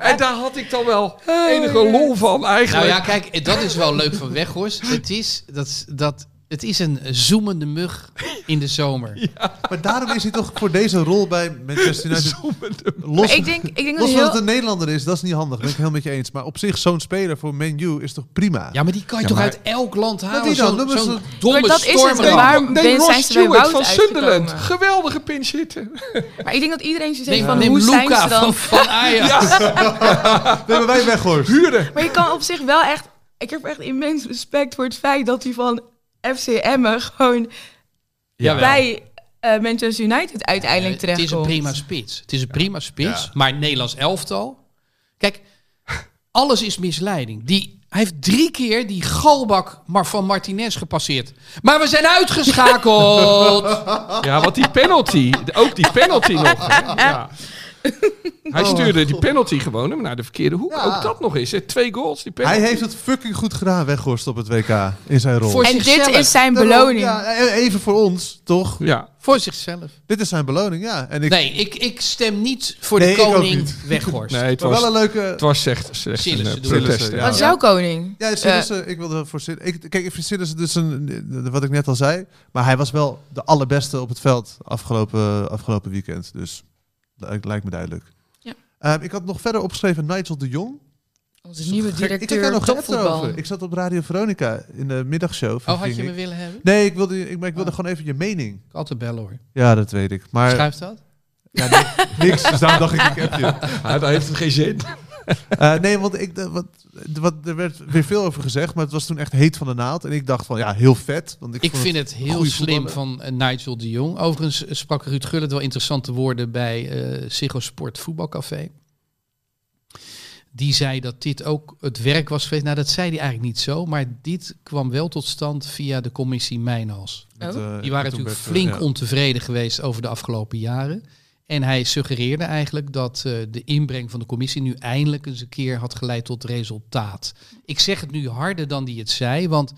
Speaker 6: en daar had ik dan wel
Speaker 5: Oh,
Speaker 6: enige lol van
Speaker 2: Nou
Speaker 6: eigenlijk.
Speaker 2: ja, kijk, eh, dat is wel leuk van Weghorst. Het is, dat, is- dat, het is een zoemende mug in de zomer.
Speaker 3: Maar daarom is hij toch voor deze rol bij Manchester United...
Speaker 5: Maar
Speaker 3: Los,
Speaker 5: ik denk, ik denk dat
Speaker 3: los van
Speaker 5: hij heel...
Speaker 3: dat het een Nederlander is, dat is niet handig. Ben ik helemaal met je eens. Maar op zich, zo'n speler voor Man U is toch prima?
Speaker 2: Ja, maar die kan je
Speaker 6: Ja,
Speaker 2: toch
Speaker 6: maar-
Speaker 2: uit elk land halen?
Speaker 3: die dan?
Speaker 2: Zo'n
Speaker 3: Dat is
Speaker 2: zo'n
Speaker 3: een-
Speaker 2: domme
Speaker 5: Maar dat is het,
Speaker 2: stormram.
Speaker 5: waar-
Speaker 6: Nee,
Speaker 5: ben-
Speaker 6: Ross
Speaker 5: zijn ze bij
Speaker 6: Stewart van
Speaker 5: Wout
Speaker 6: Sunderland.
Speaker 5: uitgekomen?
Speaker 6: Geweldige pinch hitter.
Speaker 5: Maar ik denk dat iedereen zoiets
Speaker 2: Neem,
Speaker 5: heeft van,
Speaker 2: neem
Speaker 5: hoe zijn
Speaker 2: Luca
Speaker 5: ze dan?
Speaker 2: van, van Ajax.
Speaker 3: We hebben wij weghorst.
Speaker 6: Huren.
Speaker 5: Maar je kan op zich wel echt... Ik heb echt immens respect voor het feit dat hij van FC Emmen gewoon
Speaker 2: Jawel.
Speaker 5: bij eh, Manchester United uiteindelijk
Speaker 2: Eh, Het is een
Speaker 5: terechtkomt.
Speaker 2: prima spits. Het is een prima spits, maar Nederlands elftal. Kijk, alles is misleiding. Die, hij heeft drie keer die galbak maar van Martinez gepasseerd. Maar we zijn uitgeschakeld.
Speaker 6: Ja, want die penalty, ook die penalty nog. hè. Ja. Hij stuurde die penalty gewoon naar de verkeerde hoek.
Speaker 3: Oh. Ja.
Speaker 6: Ook dat nog eens. Hè. Twee goals, die penalty.
Speaker 3: Hij heeft het fucking goed gedaan, Weghorst, op het WK. In zijn rol.
Speaker 2: Voor
Speaker 5: En dit
Speaker 2: zichzelf.
Speaker 5: is zijn
Speaker 3: Daarom,
Speaker 5: beloning.
Speaker 3: Ja, e- even voor ons, toch?
Speaker 6: Ja.
Speaker 2: Voor zichzelf.
Speaker 3: Dit is zijn beloning, ja. En ik,
Speaker 2: Nee, ik, ik stem niet voor
Speaker 3: Nee,
Speaker 2: de
Speaker 3: ik ook
Speaker 2: koning
Speaker 3: niet.
Speaker 2: Weghorst.
Speaker 6: Nee, het
Speaker 3: maar
Speaker 6: was,
Speaker 3: wel een leuke...
Speaker 6: het was echt slechts een
Speaker 2: Sillissen
Speaker 6: eh,
Speaker 2: doen we.
Speaker 6: protest.
Speaker 3: Sillissen,
Speaker 6: hè.
Speaker 3: ja.
Speaker 5: Wat is jouw koning?
Speaker 3: Ja, Sillissen, ik wilde voor Sillissen. Ik, kijk, ik vind Sillissen dus een, wat ik net al zei. Maar hij was wel de allerbeste op het veld afgelopen, afgelopen weekend. Dus lijk- lijkt me duidelijk. Eh, ik had nog verder opgeschreven Nigel de Jong.
Speaker 5: Onze nieuwe
Speaker 3: Gek, ik heb daar
Speaker 5: directeur
Speaker 3: nog geappt
Speaker 5: topvoetbal.
Speaker 3: over. Ik zat op Radio Veronica in de middagshow.
Speaker 2: Oh, had je
Speaker 3: verving
Speaker 2: me
Speaker 3: ik.
Speaker 2: willen hebben?
Speaker 3: Nee, ik wilde, ik, maar ik wilde
Speaker 2: Ah.
Speaker 3: gewoon even je mening.
Speaker 2: Ik altijd bellen hoor.
Speaker 3: Ja, dat weet ik. Maar
Speaker 2: Schrijf dat?
Speaker 3: Ja, ni- niks, dus daarom dacht ik, ik heb je.
Speaker 6: Ah, daar heeft het geen zin.
Speaker 3: Eh, nee, want ik, eh, wat, wat, er werd weer veel over gezegd, maar het was toen echt heet van de naald. En ik dacht van, ja, heel vet. Want ik
Speaker 2: Ik
Speaker 3: vond
Speaker 2: vind het heel
Speaker 3: goeie
Speaker 2: slim van eh, Nigel de Jong. Overigens eh, sprak Ruud Gullit wel interessante woorden bij eh Ziggo Sport Voetbalcafé. Die zei dat dit ook het werk was geweest. Nou, dat zei hij eigenlijk niet zo. Maar dit kwam wel tot stand via de commissie Mijnhals.
Speaker 3: het, eh,
Speaker 2: Die waren
Speaker 3: toen
Speaker 2: natuurlijk
Speaker 3: werd, eh,
Speaker 2: flink
Speaker 3: ja.
Speaker 2: ontevreden geweest over de afgelopen jaren. En hij suggereerde eigenlijk dat eh, de inbreng van de commissie nu eindelijk eens een keer had geleid tot resultaat. Ik zeg het nu harder dan die het zei, want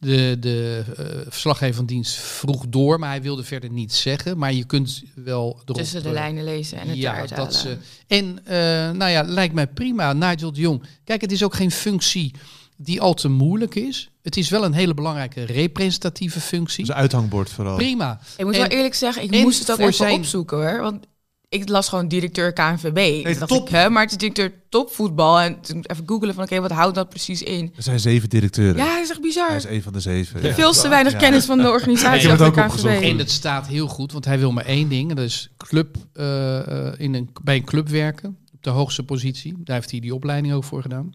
Speaker 2: de, de eh, verslaggever van dienst vroeg door, maar hij wilde verder niets zeggen. Maar je kunt wel erop,
Speaker 5: Tussen de
Speaker 2: eh,
Speaker 5: lijnen lezen en het
Speaker 2: ja,
Speaker 5: eruit
Speaker 2: dat ze.
Speaker 5: halen.
Speaker 2: En eh, nou ja, lijkt mij prima. Nigel de Jong. Kijk, het is ook geen functie die al te moeilijk is. Het is wel een hele belangrijke representatieve functie.
Speaker 3: Dus een uithangbord vooral.
Speaker 2: Prima.
Speaker 5: Ik moet
Speaker 2: En-
Speaker 5: wel eerlijk zeggen, ik
Speaker 2: en
Speaker 5: moest het ook
Speaker 2: voor
Speaker 5: even
Speaker 2: zijn-
Speaker 5: opzoeken hoor. Want ik las gewoon directeur KNVB.
Speaker 3: Nee,
Speaker 5: Toen dacht
Speaker 3: top.
Speaker 5: ik, hè, maar het is directeur topvoetbal. En toen even googelen van oké, wat houdt dat precies in?
Speaker 3: Er zijn zeven directeuren.
Speaker 5: Ja, dat is echt bizar.
Speaker 3: Hij is een van de zeven. ja.
Speaker 5: Veel te weinig
Speaker 3: Ja.
Speaker 5: kennis van de organisatie
Speaker 2: Ik heb
Speaker 3: het
Speaker 5: achter
Speaker 3: ook opgezocht.
Speaker 5: KNVB.
Speaker 2: En dat staat heel goed, want hij wil maar één ding. en Dat is club, eh, eh, in een, bij een club werken. Op de hoogste positie. Daar heeft hij die opleiding ook voor gedaan.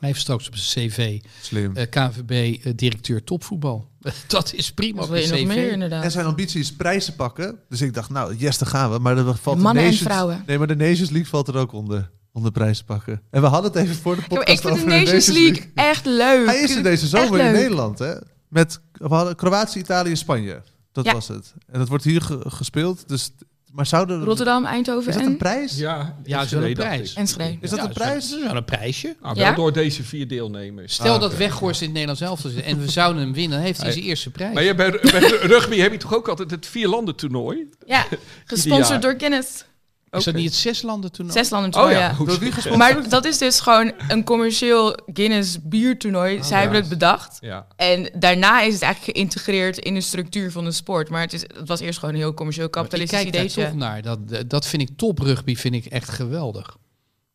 Speaker 2: Hij heeft straks op zijn cv
Speaker 3: Slim.
Speaker 2: eh KNVB eh, directeur topvoetbal. Dat is prima
Speaker 5: Dat
Speaker 2: op
Speaker 5: wil
Speaker 2: een
Speaker 5: je nog
Speaker 2: cv.
Speaker 5: meer
Speaker 3: En
Speaker 5: inderdaad.
Speaker 3: zijn ambitie is prijzen pakken. Dus ik dacht, nou, yes, daar gaan we. Maar dat valt
Speaker 5: Mannen
Speaker 3: de
Speaker 5: en
Speaker 3: Nations,
Speaker 5: vrouwen.
Speaker 3: Nee, maar de Nations League valt er ook onder. Onder prijzen pakken. En we hadden het even voor de
Speaker 5: Ja, maar
Speaker 3: podcast
Speaker 5: ik vind de
Speaker 3: over
Speaker 5: Nations League echt leuk.
Speaker 3: Hij is er deze
Speaker 5: Echt
Speaker 3: zomer in
Speaker 5: leuk.
Speaker 3: Nederland, hè? Met we hadden Kroatië, Italië, Spanje. Dat
Speaker 5: Ja.
Speaker 3: was het. En dat wordt hier ge- gespeeld. Dus, maar zouden
Speaker 5: Rotterdam,
Speaker 3: Is
Speaker 5: Eindhoven
Speaker 3: dat een
Speaker 5: en
Speaker 3: prijs?
Speaker 6: Ja,
Speaker 2: Ja,
Speaker 6: is
Speaker 2: zo'n prijs.
Speaker 5: Enschede.
Speaker 3: Is dat
Speaker 2: Ja,
Speaker 3: een
Speaker 2: is
Speaker 3: prijs?
Speaker 2: Dat is wel een prijsje.
Speaker 6: Ah, wel
Speaker 5: Ja?
Speaker 6: door deze vier deelnemers.
Speaker 2: Stel
Speaker 3: Ah,
Speaker 2: dat
Speaker 3: oké.
Speaker 2: Weghorst in het Nederlands elftal zit en we zouden hem winnen, dan heeft hij
Speaker 6: Hij-
Speaker 2: zijn eerste prijs.
Speaker 6: Maar ja, bij, bij rugby heb je toch ook altijd het vierlanden toernooi?
Speaker 5: Ja,
Speaker 6: jaar.
Speaker 5: gesponsord door Guinness.
Speaker 2: Is dat niet het zeslanden toen?
Speaker 5: Zes landen
Speaker 6: Oh
Speaker 5: toernooi,
Speaker 6: ja.
Speaker 5: ja.
Speaker 6: Hoe
Speaker 3: Door wie
Speaker 6: zeg je?
Speaker 3: gesponsord?
Speaker 5: Maar dat is dus gewoon een commercieel Guinness
Speaker 3: Oh,
Speaker 5: biertoernooi. Zij
Speaker 6: ja.
Speaker 5: hebben het bedacht.
Speaker 6: Ja.
Speaker 5: En daarna is het eigenlijk geïntegreerd in de structuur van de sport. Maar het, is, het was eerst gewoon een heel commercieel
Speaker 2: Ik
Speaker 5: kapitalistisch
Speaker 2: kijk daar toch
Speaker 5: ideetje.
Speaker 2: naar. Dat, eh, dat- dat vind ik top rugby, vind ik echt geweldig.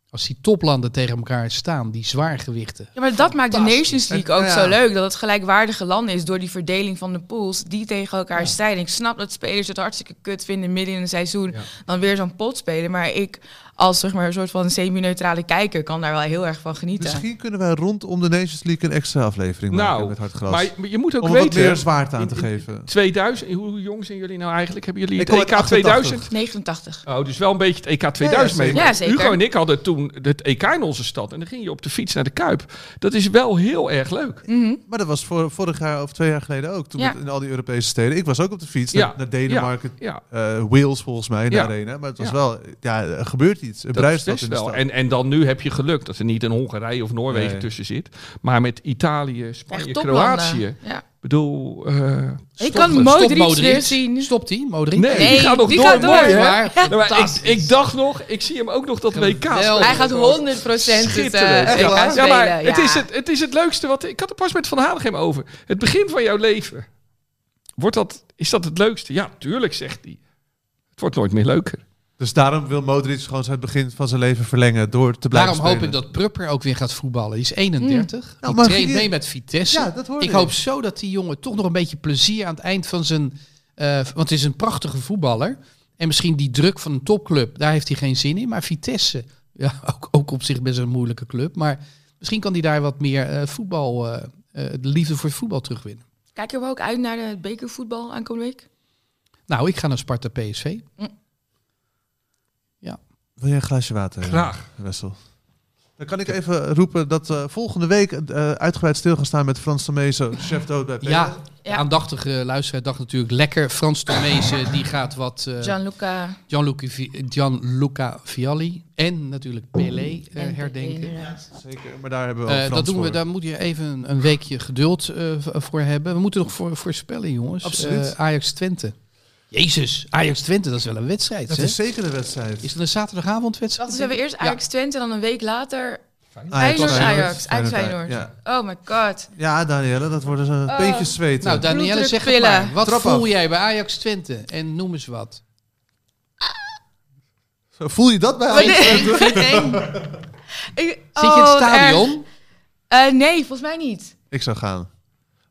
Speaker 2: Als die toplanden tegen elkaar staan, die zwaargewichten.
Speaker 5: Ja, maar dat maakt de
Speaker 2: Fantastisch.
Speaker 5: Nations League
Speaker 3: Het-
Speaker 5: ook
Speaker 3: ja.
Speaker 5: zo leuk. Dat het gelijkwaardige landen is door die verdeling van de pools die tegen elkaar strijden. Ik snap dat spelers het hartstikke kut vinden midden in een seizoen.
Speaker 6: Ja.
Speaker 5: Dan weer zo'n pot spelen. Maar ik, als zeg maar, een soort van semi-neutrale kijker, kan daar wel heel erg van genieten.
Speaker 3: Misschien kunnen wij rondom de Nations League een extra aflevering maken
Speaker 6: Nou,
Speaker 3: met Hartgras.
Speaker 6: Maar je- maar je moet ook
Speaker 3: om er wat
Speaker 6: weten...
Speaker 3: meer zwaard aan te
Speaker 6: in- in-
Speaker 3: geven.
Speaker 6: 2000, hoe jong zijn jullie nou eigenlijk? Hebben jullie
Speaker 3: Ik
Speaker 6: het
Speaker 3: kom uit
Speaker 6: EK 2000?
Speaker 5: 89.
Speaker 6: Oh, dus wel een beetje het EK 2000
Speaker 3: Ja,
Speaker 6: mee.
Speaker 3: zeker.
Speaker 6: Maar
Speaker 5: Ja, zeker.
Speaker 6: Hugo en ik hadden toen het EK in onze stad. En dan ging je op de fiets naar de Kuip. Dat is wel heel erg leuk.
Speaker 5: Mhm.
Speaker 3: Maar dat was voor, vorig jaar of twee jaar geleden ook. Toen
Speaker 5: Ja.
Speaker 3: het in al die Europese steden. Ik was ook op de fiets
Speaker 6: Ja.
Speaker 3: naar, naar Denemarken,
Speaker 6: Ja,
Speaker 3: eh, Wales volgens mij, in de
Speaker 6: Ja.
Speaker 3: arena. Maar het was
Speaker 6: Ja.
Speaker 3: wel, ja, er gebeurt iets. Er bruist
Speaker 6: dat
Speaker 3: wat
Speaker 6: is
Speaker 3: in
Speaker 6: best
Speaker 3: de stad.
Speaker 6: wel. En, en dan nu heb je geluk dat er niet een Hongarije of Noorwegen
Speaker 3: Nee.
Speaker 6: tussen zit. Maar met Italië, Spanje,
Speaker 5: Echt toplanden.
Speaker 6: Kroatië. Ik
Speaker 5: Ja.
Speaker 6: bedoel, eh,
Speaker 5: Ik kan Modric weer zien.
Speaker 2: Stopt hij, Modric?
Speaker 6: nee, die
Speaker 5: Nee,
Speaker 6: gaat nog
Speaker 5: die
Speaker 6: door.
Speaker 5: gaat door.
Speaker 6: Mooi, hè?
Speaker 2: Maar
Speaker 6: Nou, maar ik,
Speaker 2: fantastisch.
Speaker 6: ik dacht nog, ik zie hem ook nog dat
Speaker 2: Geweldig.
Speaker 6: WK spelen.
Speaker 5: Hij gaat 100% het eh,
Speaker 6: Schitterend.
Speaker 5: EK
Speaker 6: Echt waar?
Speaker 5: spelen.
Speaker 6: ja, maar het,
Speaker 5: ja.
Speaker 6: is het, het is het leukste. Wat, ik had het pas met Van Hanegem over. Het begin van jouw leven. Wordt dat, is dat het leukste? Ja, tuurlijk, zegt hij. Het wordt nooit meer leuker.
Speaker 3: Dus daarom wil Modric gewoon zijn begin van zijn leven verlengen door te blijven
Speaker 2: Daarom hoop ik
Speaker 3: spelen.
Speaker 2: dat Prupper ook weer gaat voetballen. Die is 31.
Speaker 3: Nou,
Speaker 2: die
Speaker 3: maar
Speaker 2: traint
Speaker 3: die-
Speaker 2: mee met Vitesse.
Speaker 3: Ja, dat hoor
Speaker 2: ik
Speaker 3: ik.
Speaker 2: hoop zo dat die jongen toch nog een beetje plezier aan het eind van zijn... eh, want het is een prachtige voetballer. En misschien die druk van een topclub, daar heeft hij geen zin in. Maar Vitesse, ja, ook, ook op zich best een moeilijke club. Maar misschien kan hij daar wat meer eh, voetbal... eh, eh, de liefde voor voetbal terugwinnen.
Speaker 5: Kijken we ook uit naar de bekervoetbal aankomende week?
Speaker 2: Nou, ik ga naar Sparta PSV.
Speaker 3: Wil jij een glaasje water? eh,
Speaker 6: Graag.
Speaker 3: Wessel. Dan kan ik even roepen dat eh, volgende week eh, uitgebreid stil gaan staan met Frans Tomezo, chef dood bij Peter.
Speaker 2: Ja, de
Speaker 5: Ja.
Speaker 2: aandachtige luisteraar dacht natuurlijk lekker. Frans Tomezen, die gaat wat... eh,
Speaker 5: Gianluca
Speaker 2: Gianluca, Vi- Gianluca Vialli en natuurlijk Pelé eh,
Speaker 5: en
Speaker 2: herdenken.
Speaker 5: inderdaad.
Speaker 3: Zeker, maar daar hebben we
Speaker 2: Eh,
Speaker 3: al Frans
Speaker 2: dat doen we,
Speaker 3: voor.
Speaker 2: daar moet je even een, een weekje geduld eh, v- voor hebben. We moeten nog voor, voorspellen, jongens.
Speaker 3: Absoluut.
Speaker 2: Eh, Ajax Twente. Jezus, Ajax Twente, dat is wel een wedstrijd.
Speaker 3: Dat
Speaker 2: hè?
Speaker 3: is zeker een wedstrijd.
Speaker 2: Is dat een zaterdagavondwedstrijd?
Speaker 5: Dat is hebben we eerst Ajax Twente, dan een week later
Speaker 3: Feyenoord,
Speaker 5: Feyenoord, Ajax, uit
Speaker 3: Feyenoord,
Speaker 5: Feyenoord.
Speaker 3: Ja,
Speaker 5: Oh my god.
Speaker 3: ja Danielle, dat wordt dus een
Speaker 5: Oh.
Speaker 3: beetje zweten.
Speaker 2: Nou, Danielle,
Speaker 5: Bloeddruk
Speaker 2: zeg het
Speaker 5: pillen.
Speaker 2: maar. Wat
Speaker 3: Trap
Speaker 2: voel
Speaker 3: af.
Speaker 2: jij bij Ajax Twente? En noem eens wat.
Speaker 3: Zo, Voel je dat bij
Speaker 2: Oh,
Speaker 5: Maar
Speaker 3: Ajax?
Speaker 5: nee.
Speaker 2: Vind één. Zit
Speaker 5: Ik-
Speaker 2: je in
Speaker 5: oh,
Speaker 2: het
Speaker 5: wat
Speaker 2: stadion?
Speaker 5: erg. Eh, nee, volgens mij niet.
Speaker 3: Ik zou gaan.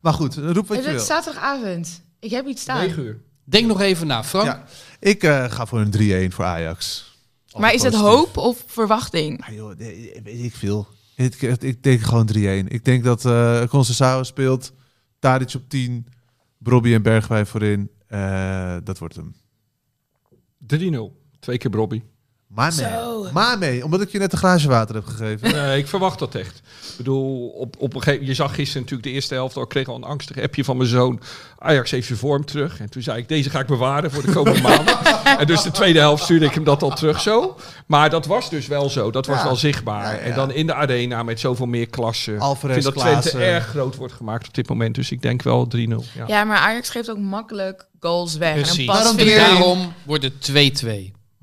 Speaker 3: Maar goed, roep wat
Speaker 5: Het
Speaker 3: je
Speaker 5: is
Speaker 3: wil.
Speaker 5: zaterdagavond. Ik heb iets staan.
Speaker 6: uur.
Speaker 2: Denk nog even na, Frank.
Speaker 3: Ja. Ik eh, ga voor een 3-1 voor Ajax.
Speaker 5: Maar is het
Speaker 3: Positief.
Speaker 5: hoop of verwachting?
Speaker 3: Ah, joh, nee, weet ik veel. Ik, ik denk gewoon 3-1. Ik denk dat eh Concesao speelt, Tadic op 10, Brobby en Bergwijn voorin. Eh, dat wordt hem.
Speaker 6: 3-0. Twee keer Bobby.
Speaker 3: Maar
Speaker 5: Zo.
Speaker 3: mee. Maar mee, omdat ik je net een glaasje water heb gegeven.
Speaker 6: Nee, ik verwacht dat echt. Ik bedoel, op, op een gegeven, je zag gisteren natuurlijk de eerste helft al. Ik kreeg al een angstig appje van mijn zoon. Ajax heeft zijn vorm terug. En toen zei ik, deze ga ik bewaren voor de komende maanden. En dus de tweede helft stuurde ik hem dat al terug zo. Maar dat was dus wel zo. Dat was
Speaker 3: Ja.
Speaker 6: wel zichtbaar.
Speaker 3: Ja, ja, ja.
Speaker 6: En dan in de arena met zoveel meer klassen.
Speaker 3: Alvarez,
Speaker 6: ik vind dat Twente
Speaker 3: Klaassen.
Speaker 6: erg groot wordt gemaakt op dit moment. Dus ik denk wel 3-0. Ja.
Speaker 5: Ja, maar Ajax geeft ook makkelijk goals weg. En een
Speaker 2: Precies.
Speaker 5: pas
Speaker 3: Daarom
Speaker 5: vind ik-
Speaker 3: weer-
Speaker 2: Daarom wordt het 2-2.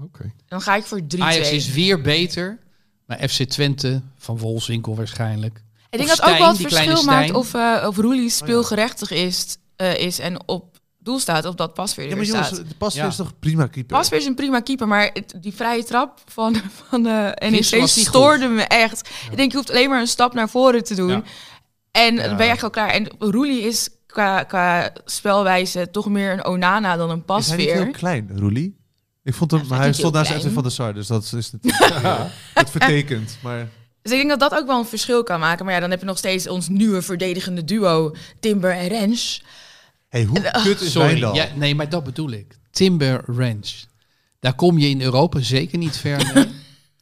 Speaker 6: Oké.
Speaker 5: Dan ga ik voor 3-2.
Speaker 2: Ajax is weer beter. Maar FC Twente, van Wolfswinkel waarschijnlijk.
Speaker 5: Ik denk
Speaker 2: Of
Speaker 5: dat ook
Speaker 2: Stijn,
Speaker 5: wel het
Speaker 2: die
Speaker 5: verschil
Speaker 2: kleine
Speaker 5: maakt
Speaker 2: Stijn.
Speaker 5: of, eh of
Speaker 3: Oh
Speaker 5: Roelie speelgerechtig is, eh, is en op doel staat, of dat Pasveer er
Speaker 3: Ja, maar
Speaker 5: weer
Speaker 3: jongens,
Speaker 5: staat.
Speaker 3: de Pasveer
Speaker 2: Ja.
Speaker 3: is toch prima keeper?
Speaker 5: Pasveer is een prima keeper, maar het- die vrije trap van, van eh NEC
Speaker 2: Gisteren was die
Speaker 5: stoorde me echt. Ik denk, je hoeft alleen maar een stap naar voren te doen.
Speaker 6: Ja.
Speaker 5: En dan ben je echt al klaar. En Roelie is qua, qua spelwijze toch meer een Onana dan een
Speaker 3: is hij niet heel
Speaker 5: Pasveer.
Speaker 3: klein, Roelie? Ik vond hem,
Speaker 5: Ja,
Speaker 3: maar
Speaker 5: hij
Speaker 3: hij
Speaker 5: is
Speaker 3: stond
Speaker 5: heel
Speaker 3: naast FC
Speaker 5: klein.
Speaker 3: van der Sar, dus dat is natuurlijk het vertekent. Maar
Speaker 5: Dus ik denk dat dat ook wel een verschil kan maken. Maar ja, dan heb je nog steeds ons nieuwe verdedigende duo, Timber en Rens.
Speaker 3: hey, hoe kut is
Speaker 2: Sorry.
Speaker 3: Wijndal?
Speaker 2: Ja, nee, maar dat bedoel ik. Timber Ranch. Daar kom je in Europa zeker niet ver mee.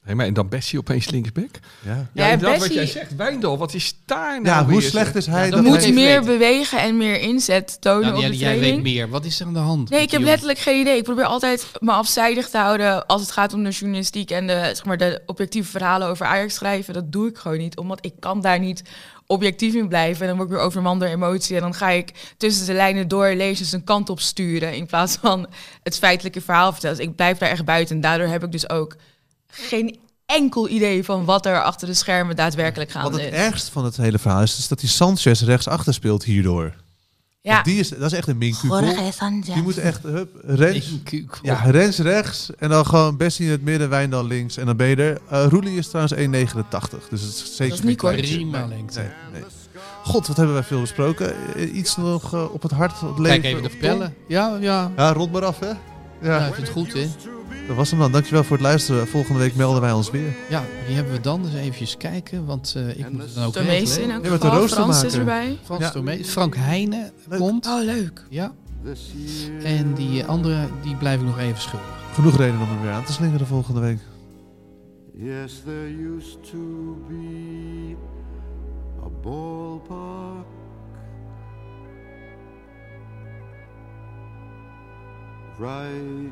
Speaker 6: Nee, maar en dan Bessie opeens linksback.
Speaker 3: Ja.
Speaker 5: Ja,
Speaker 6: inderdaad, wat
Speaker 5: Bessie-
Speaker 6: jij zegt. Wijndal, wat is daar nou
Speaker 3: Ja, hoe
Speaker 6: weer,
Speaker 3: slecht
Speaker 6: zeg.
Speaker 3: is hij?
Speaker 2: Ja,
Speaker 5: Er
Speaker 2: dat
Speaker 3: dat
Speaker 5: moet
Speaker 3: hij-
Speaker 2: even
Speaker 5: meer
Speaker 2: weten.
Speaker 5: bewegen en meer inzet tonen
Speaker 2: Danielle,
Speaker 5: op de
Speaker 2: Nou, jij weet
Speaker 5: training.
Speaker 2: meer. Wat is er aan de hand? met
Speaker 5: Nee, ik heb
Speaker 2: die jongen?
Speaker 5: letterlijk geen idee. Ik probeer altijd me afzijdig te houden als het gaat om de journalistiek en de, zeg maar, de objectieve verhalen over Ajax schrijven. Dat doe ik gewoon niet, omdat ik kan daar niet objectief in blijven. En dan word ik weer overmand door emotie en dan ga ik tussen de lijnen door lezers een kant op sturen in plaats van het feitelijke verhaal vertellen. Dus ik blijf daar echt buiten en daardoor heb ik dus ook geen enkel idee van wat er achter de schermen daadwerkelijk
Speaker 3: Wat
Speaker 5: gaande
Speaker 3: het
Speaker 5: is.
Speaker 3: ergste van het hele verhaal is, is dat die Sanchez rechtsachter speelt hierdoor.
Speaker 5: Ja,
Speaker 3: Want Die is, dat is echt een minkukel. Die moet echt, hup, Rens,
Speaker 2: Ik- ik-
Speaker 3: ja, Rens rechts en dan gewoon Bessie in het midden, Wijndal links en dan ben je er. Eh, Roelie is trouwens 1,89, dus het is zeker
Speaker 5: is
Speaker 3: geen
Speaker 5: niet kort.
Speaker 3: kleintje.
Speaker 2: Prima
Speaker 3: Nee,
Speaker 2: lengte.
Speaker 3: nee, nee. God, wat hebben wij veel besproken. Eh, Iets nog eh, op het hart, op het leven.
Speaker 2: Kijk even de
Speaker 3: op-
Speaker 2: pellen. Ja, ja.
Speaker 3: Ja, rond maar af, hè.
Speaker 2: Ja,
Speaker 3: Ja,
Speaker 2: ik vind het goed, hè?
Speaker 3: dat was hem dan. Dankjewel voor het luisteren. Volgende week melden wij ons weer.
Speaker 2: Ja, die hebben we dan. Dus eventjes kijken, want eh, ik moet het dan ook
Speaker 5: de meeste in
Speaker 2: regelen.
Speaker 5: elk
Speaker 3: Ja, met de
Speaker 5: geval.
Speaker 3: rooster
Speaker 5: Frans is
Speaker 3: maken.
Speaker 5: erbij.
Speaker 2: Frans
Speaker 3: Ja.
Speaker 2: Tomé. Frank Heijnen
Speaker 3: Leuk.
Speaker 2: komt.
Speaker 5: Oh, leuk.
Speaker 2: Ja,
Speaker 4: This year.
Speaker 2: en die eh, andere, die blijf ik nog even schuldig.
Speaker 3: Genoeg reden om hem weer aan te slingeren volgende week.
Speaker 4: Yes, there used to be a ballpark right